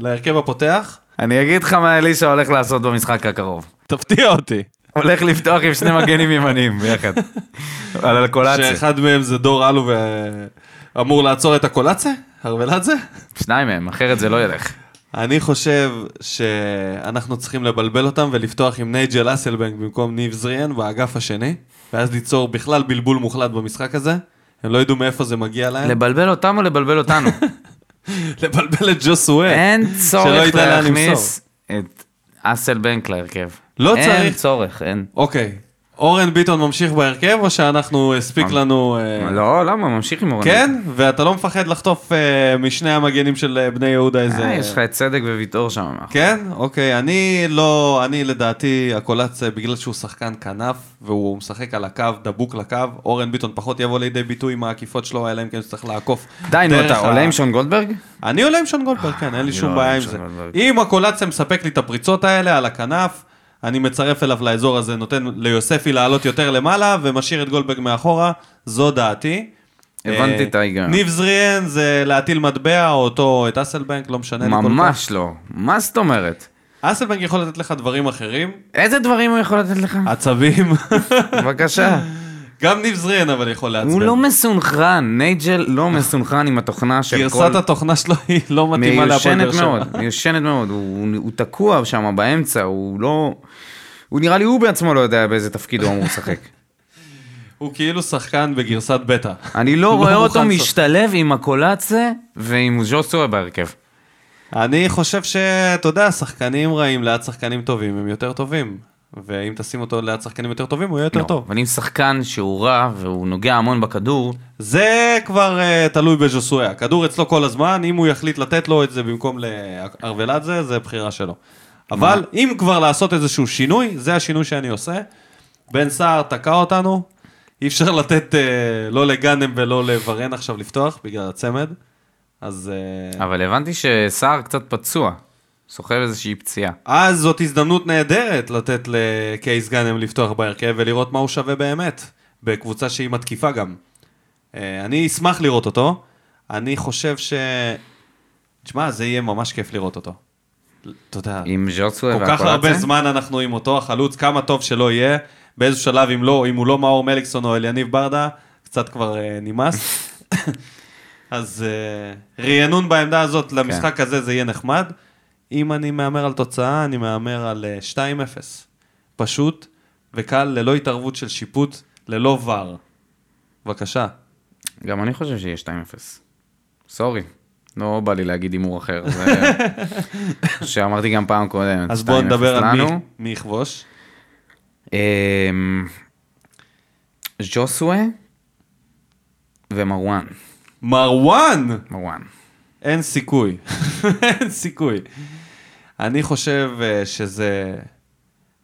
Speaker 1: להרכב הפותח.
Speaker 2: אני אגיד לך מה אלישע הולך לעשות במשחק הקרוב.
Speaker 1: תפתיע אותי.
Speaker 2: הוא הולך לפתוח עם שני מגנים ימניים ביחד. על הקולציה.
Speaker 1: שאחד מהם זה דור אלו ואמור לעצור את הקולצה? הרוולדזה?
Speaker 2: שניים מהם, אחרת זה לא ילך.
Speaker 1: אני חושב שאנחנו צריכים לבלבל אותם ולפתוח עם נייג'ל אסלבנג במקום ניב זריאן באגף השני, ואז ליצור בכלל בלבול מוחלט במשחק הזה. הם לא ידעו מאיפה זה מגיע להם.
Speaker 2: לבלבל אותם או לבלבל אותנו?
Speaker 1: לבלבל את ג'ו סואל.
Speaker 2: אין
Speaker 1: שלא
Speaker 2: צורך
Speaker 1: ידע לאן
Speaker 2: להכניס את אסלבנק להרכב.
Speaker 1: לא
Speaker 2: אין
Speaker 1: צריך.
Speaker 2: צורך, אין.
Speaker 1: אוקיי, אורן ביטון ממשיך בהרכב, או שאנחנו הספיק
Speaker 2: ממ-
Speaker 1: לנו... אה,
Speaker 2: לא, למה? ממשיך עם אורן.
Speaker 1: כן? ואתה לא מפחד לחטוף אה, משני המגנים של אה, בני יהודה איזה...
Speaker 2: אה, יש לך את צדק וויטור שם.
Speaker 1: כן? אוקיי, אני לא, אני לדעתי, הקולץ, אה, בגלל שהוא שחקן כנף, והוא משחק על הקו, דבוק לקו, אורן ביטון פחות יבוא לידי ביטוי עם העקיפות שלו, אלא אם כן הוא צריך לעקוף.
Speaker 2: די, נו,
Speaker 1: דרך
Speaker 2: אתה
Speaker 1: ה-
Speaker 2: עולה עם שון גולדברג?
Speaker 1: אני עולה עם שון גולדברג, כן, אין לי
Speaker 2: לא
Speaker 1: שום
Speaker 2: עולה
Speaker 1: בעיה
Speaker 2: עם
Speaker 1: עם
Speaker 2: שון
Speaker 1: זה.
Speaker 2: גולדברג.
Speaker 1: אם הקולציה מספק לי את הפריצות האלה על הכנף, אני מצרף אליו לאזור הזה, נותן ליוספי לעלות יותר למעלה, ומשאיר את גולדברג מאחורה, זו דעתי. אה,
Speaker 2: הבנתי את ההיגיון.
Speaker 1: ניב זריאן זה להטיל מטבע, או אותו, את אסלבנק, לא משנה לי כל כך.
Speaker 2: ממש לא. מה זאת אומרת?
Speaker 1: אסלבנק יכול לתת לך דברים אחרים,
Speaker 2: איזה דברים הוא יכול לתת לך?
Speaker 1: עצבים.
Speaker 2: בבקשה.
Speaker 1: גם ניב זריאן אבל יכול לעצבן.
Speaker 2: הוא לא מסונכרן, נייג'ל לא מסונכרן עם התוכנה של כל...
Speaker 1: גרסת התוכנה שלו היא לא מתאימה להפועל באר
Speaker 2: מיושנת
Speaker 1: שבע.
Speaker 2: מאוד, מיושנת מאוד, הוא, הוא תקוע שם באמצע, הוא לא... הוא נראה לי הוא בעצמו לא יודע באיזה תפקיד הוא אמור לשחק.
Speaker 1: הוא כאילו שחקן בגרסת בטא.
Speaker 2: אני לא רואה אותו
Speaker 1: מוכן
Speaker 2: משתלב עם הקולאצה ועם ז'וסווה בהרכב.
Speaker 1: אני חושב שאתה יודע, שחקנים רעים ליד שחקנים טובים הם יותר טובים. ואם תשים אותו ליד שחקנים יותר טובים, הוא יהיה יותר
Speaker 2: לא,
Speaker 1: טוב.
Speaker 2: אבל אם שחקן שהוא רע והוא נוגע המון בכדור,
Speaker 1: כן. זה כבר אה, תלוי בז'וסואה. הכדור אצלו כל הזמן, אם הוא יחליט לתת לו את זה במקום לארוולדזה, זה בחירה שלו. אבל אם כבר לעשות איזשהו שינוי, זה השינוי שאני עושה. בן סער תקע אותנו, אי אפשר לתת אה, לא לגאנם ולא לברן עכשיו לפתוח, בגלל הצמד. אז... אה,
Speaker 2: אבל הבנתי שסער קצת פצוע, סוחב איזושהי פציעה.
Speaker 1: אז זאת הזדמנות נהדרת לתת לקייס גאנם לפתוח בהרכב ולראות מה הוא שווה באמת, בקבוצה שהיא מתקיפה גם. אה, אני אשמח לראות אותו, אני חושב ש... תשמע, זה יהיה ממש כיף לראות אותו. אתה יודע,
Speaker 2: עם ז'וסווה
Speaker 1: כל
Speaker 2: והקולאצה?
Speaker 1: כך הרבה זמן אנחנו עם אותו החלוץ, כמה טוב שלא יהיה, באיזשהו שלב, אם לא, אם הוא לא מאור מליקסון או אליניב ברדה, קצת כבר אה, נמאס. אז אה, רענון בעמדה הזאת למשחק הזה זה יהיה נחמד. אם אני מהמר על תוצאה, אני מהמר על אה, 2-0. פשוט וקל, ללא התערבות של שיפוט, ללא ור. בבקשה.
Speaker 2: גם אני חושב שיהיה 2-0. סורי. לא בא לי להגיד הימור אחר, זה שאמרתי גם פעם קודמת.
Speaker 1: אז בואו
Speaker 2: 2-0
Speaker 1: נדבר על מי,
Speaker 2: לנו.
Speaker 1: מי יכבוש.
Speaker 2: אמ, ז'וסווה ומרואן.
Speaker 1: מרואן!
Speaker 2: מרואן.
Speaker 1: אין סיכוי. אין סיכוי. אני חושב אה, שזה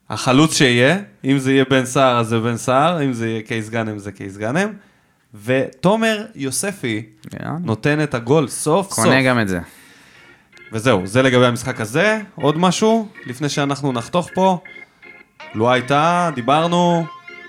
Speaker 1: החלוץ שיהיה, אם זה יהיה בן סער אז זה בן סער, אם זה יהיה קייס גאנם זה קייס גאנם, ותומר יוספי
Speaker 2: יאללה.
Speaker 1: נותן את הגול סוף סוף.
Speaker 2: קונה גם את זה.
Speaker 1: וזהו, זה לגבי המשחק הזה. עוד משהו, לפני שאנחנו נחתוך פה. לא הייתה, דיברנו,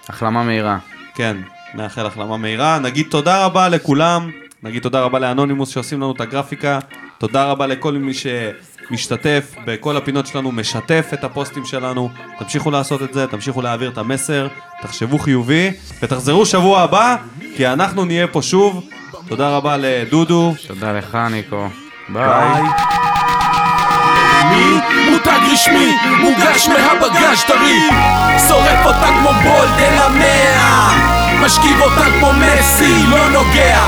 Speaker 2: החלמה מהירה.
Speaker 1: כן, נאחל החלמה מהירה. נגיד תודה רבה לכולם, נגיד תודה רבה לאנונימוס שעושים לנו את הגרפיקה, תודה רבה לכל מי שמשתתף בכל הפינות שלנו, משתף את הפוסטים שלנו. תמשיכו לעשות את זה, תמשיכו להעביר את המסר, תחשבו חיובי, ותחזרו שבוע הבא, כי אנחנו נהיה פה שוב. תודה רבה לדודו.
Speaker 2: תודה לך, ניקו. ביי.
Speaker 5: מי? מותג רשמי, מוגש מהבגז' טרי שורף אותה כמו בולד אל המאה משכיב אותה כמו מסי, לא נוגע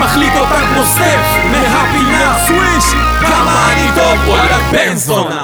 Speaker 5: מחליט אותה כמו סטף, מהפינה סוויש כמה אני טוב, וואלה בן זונה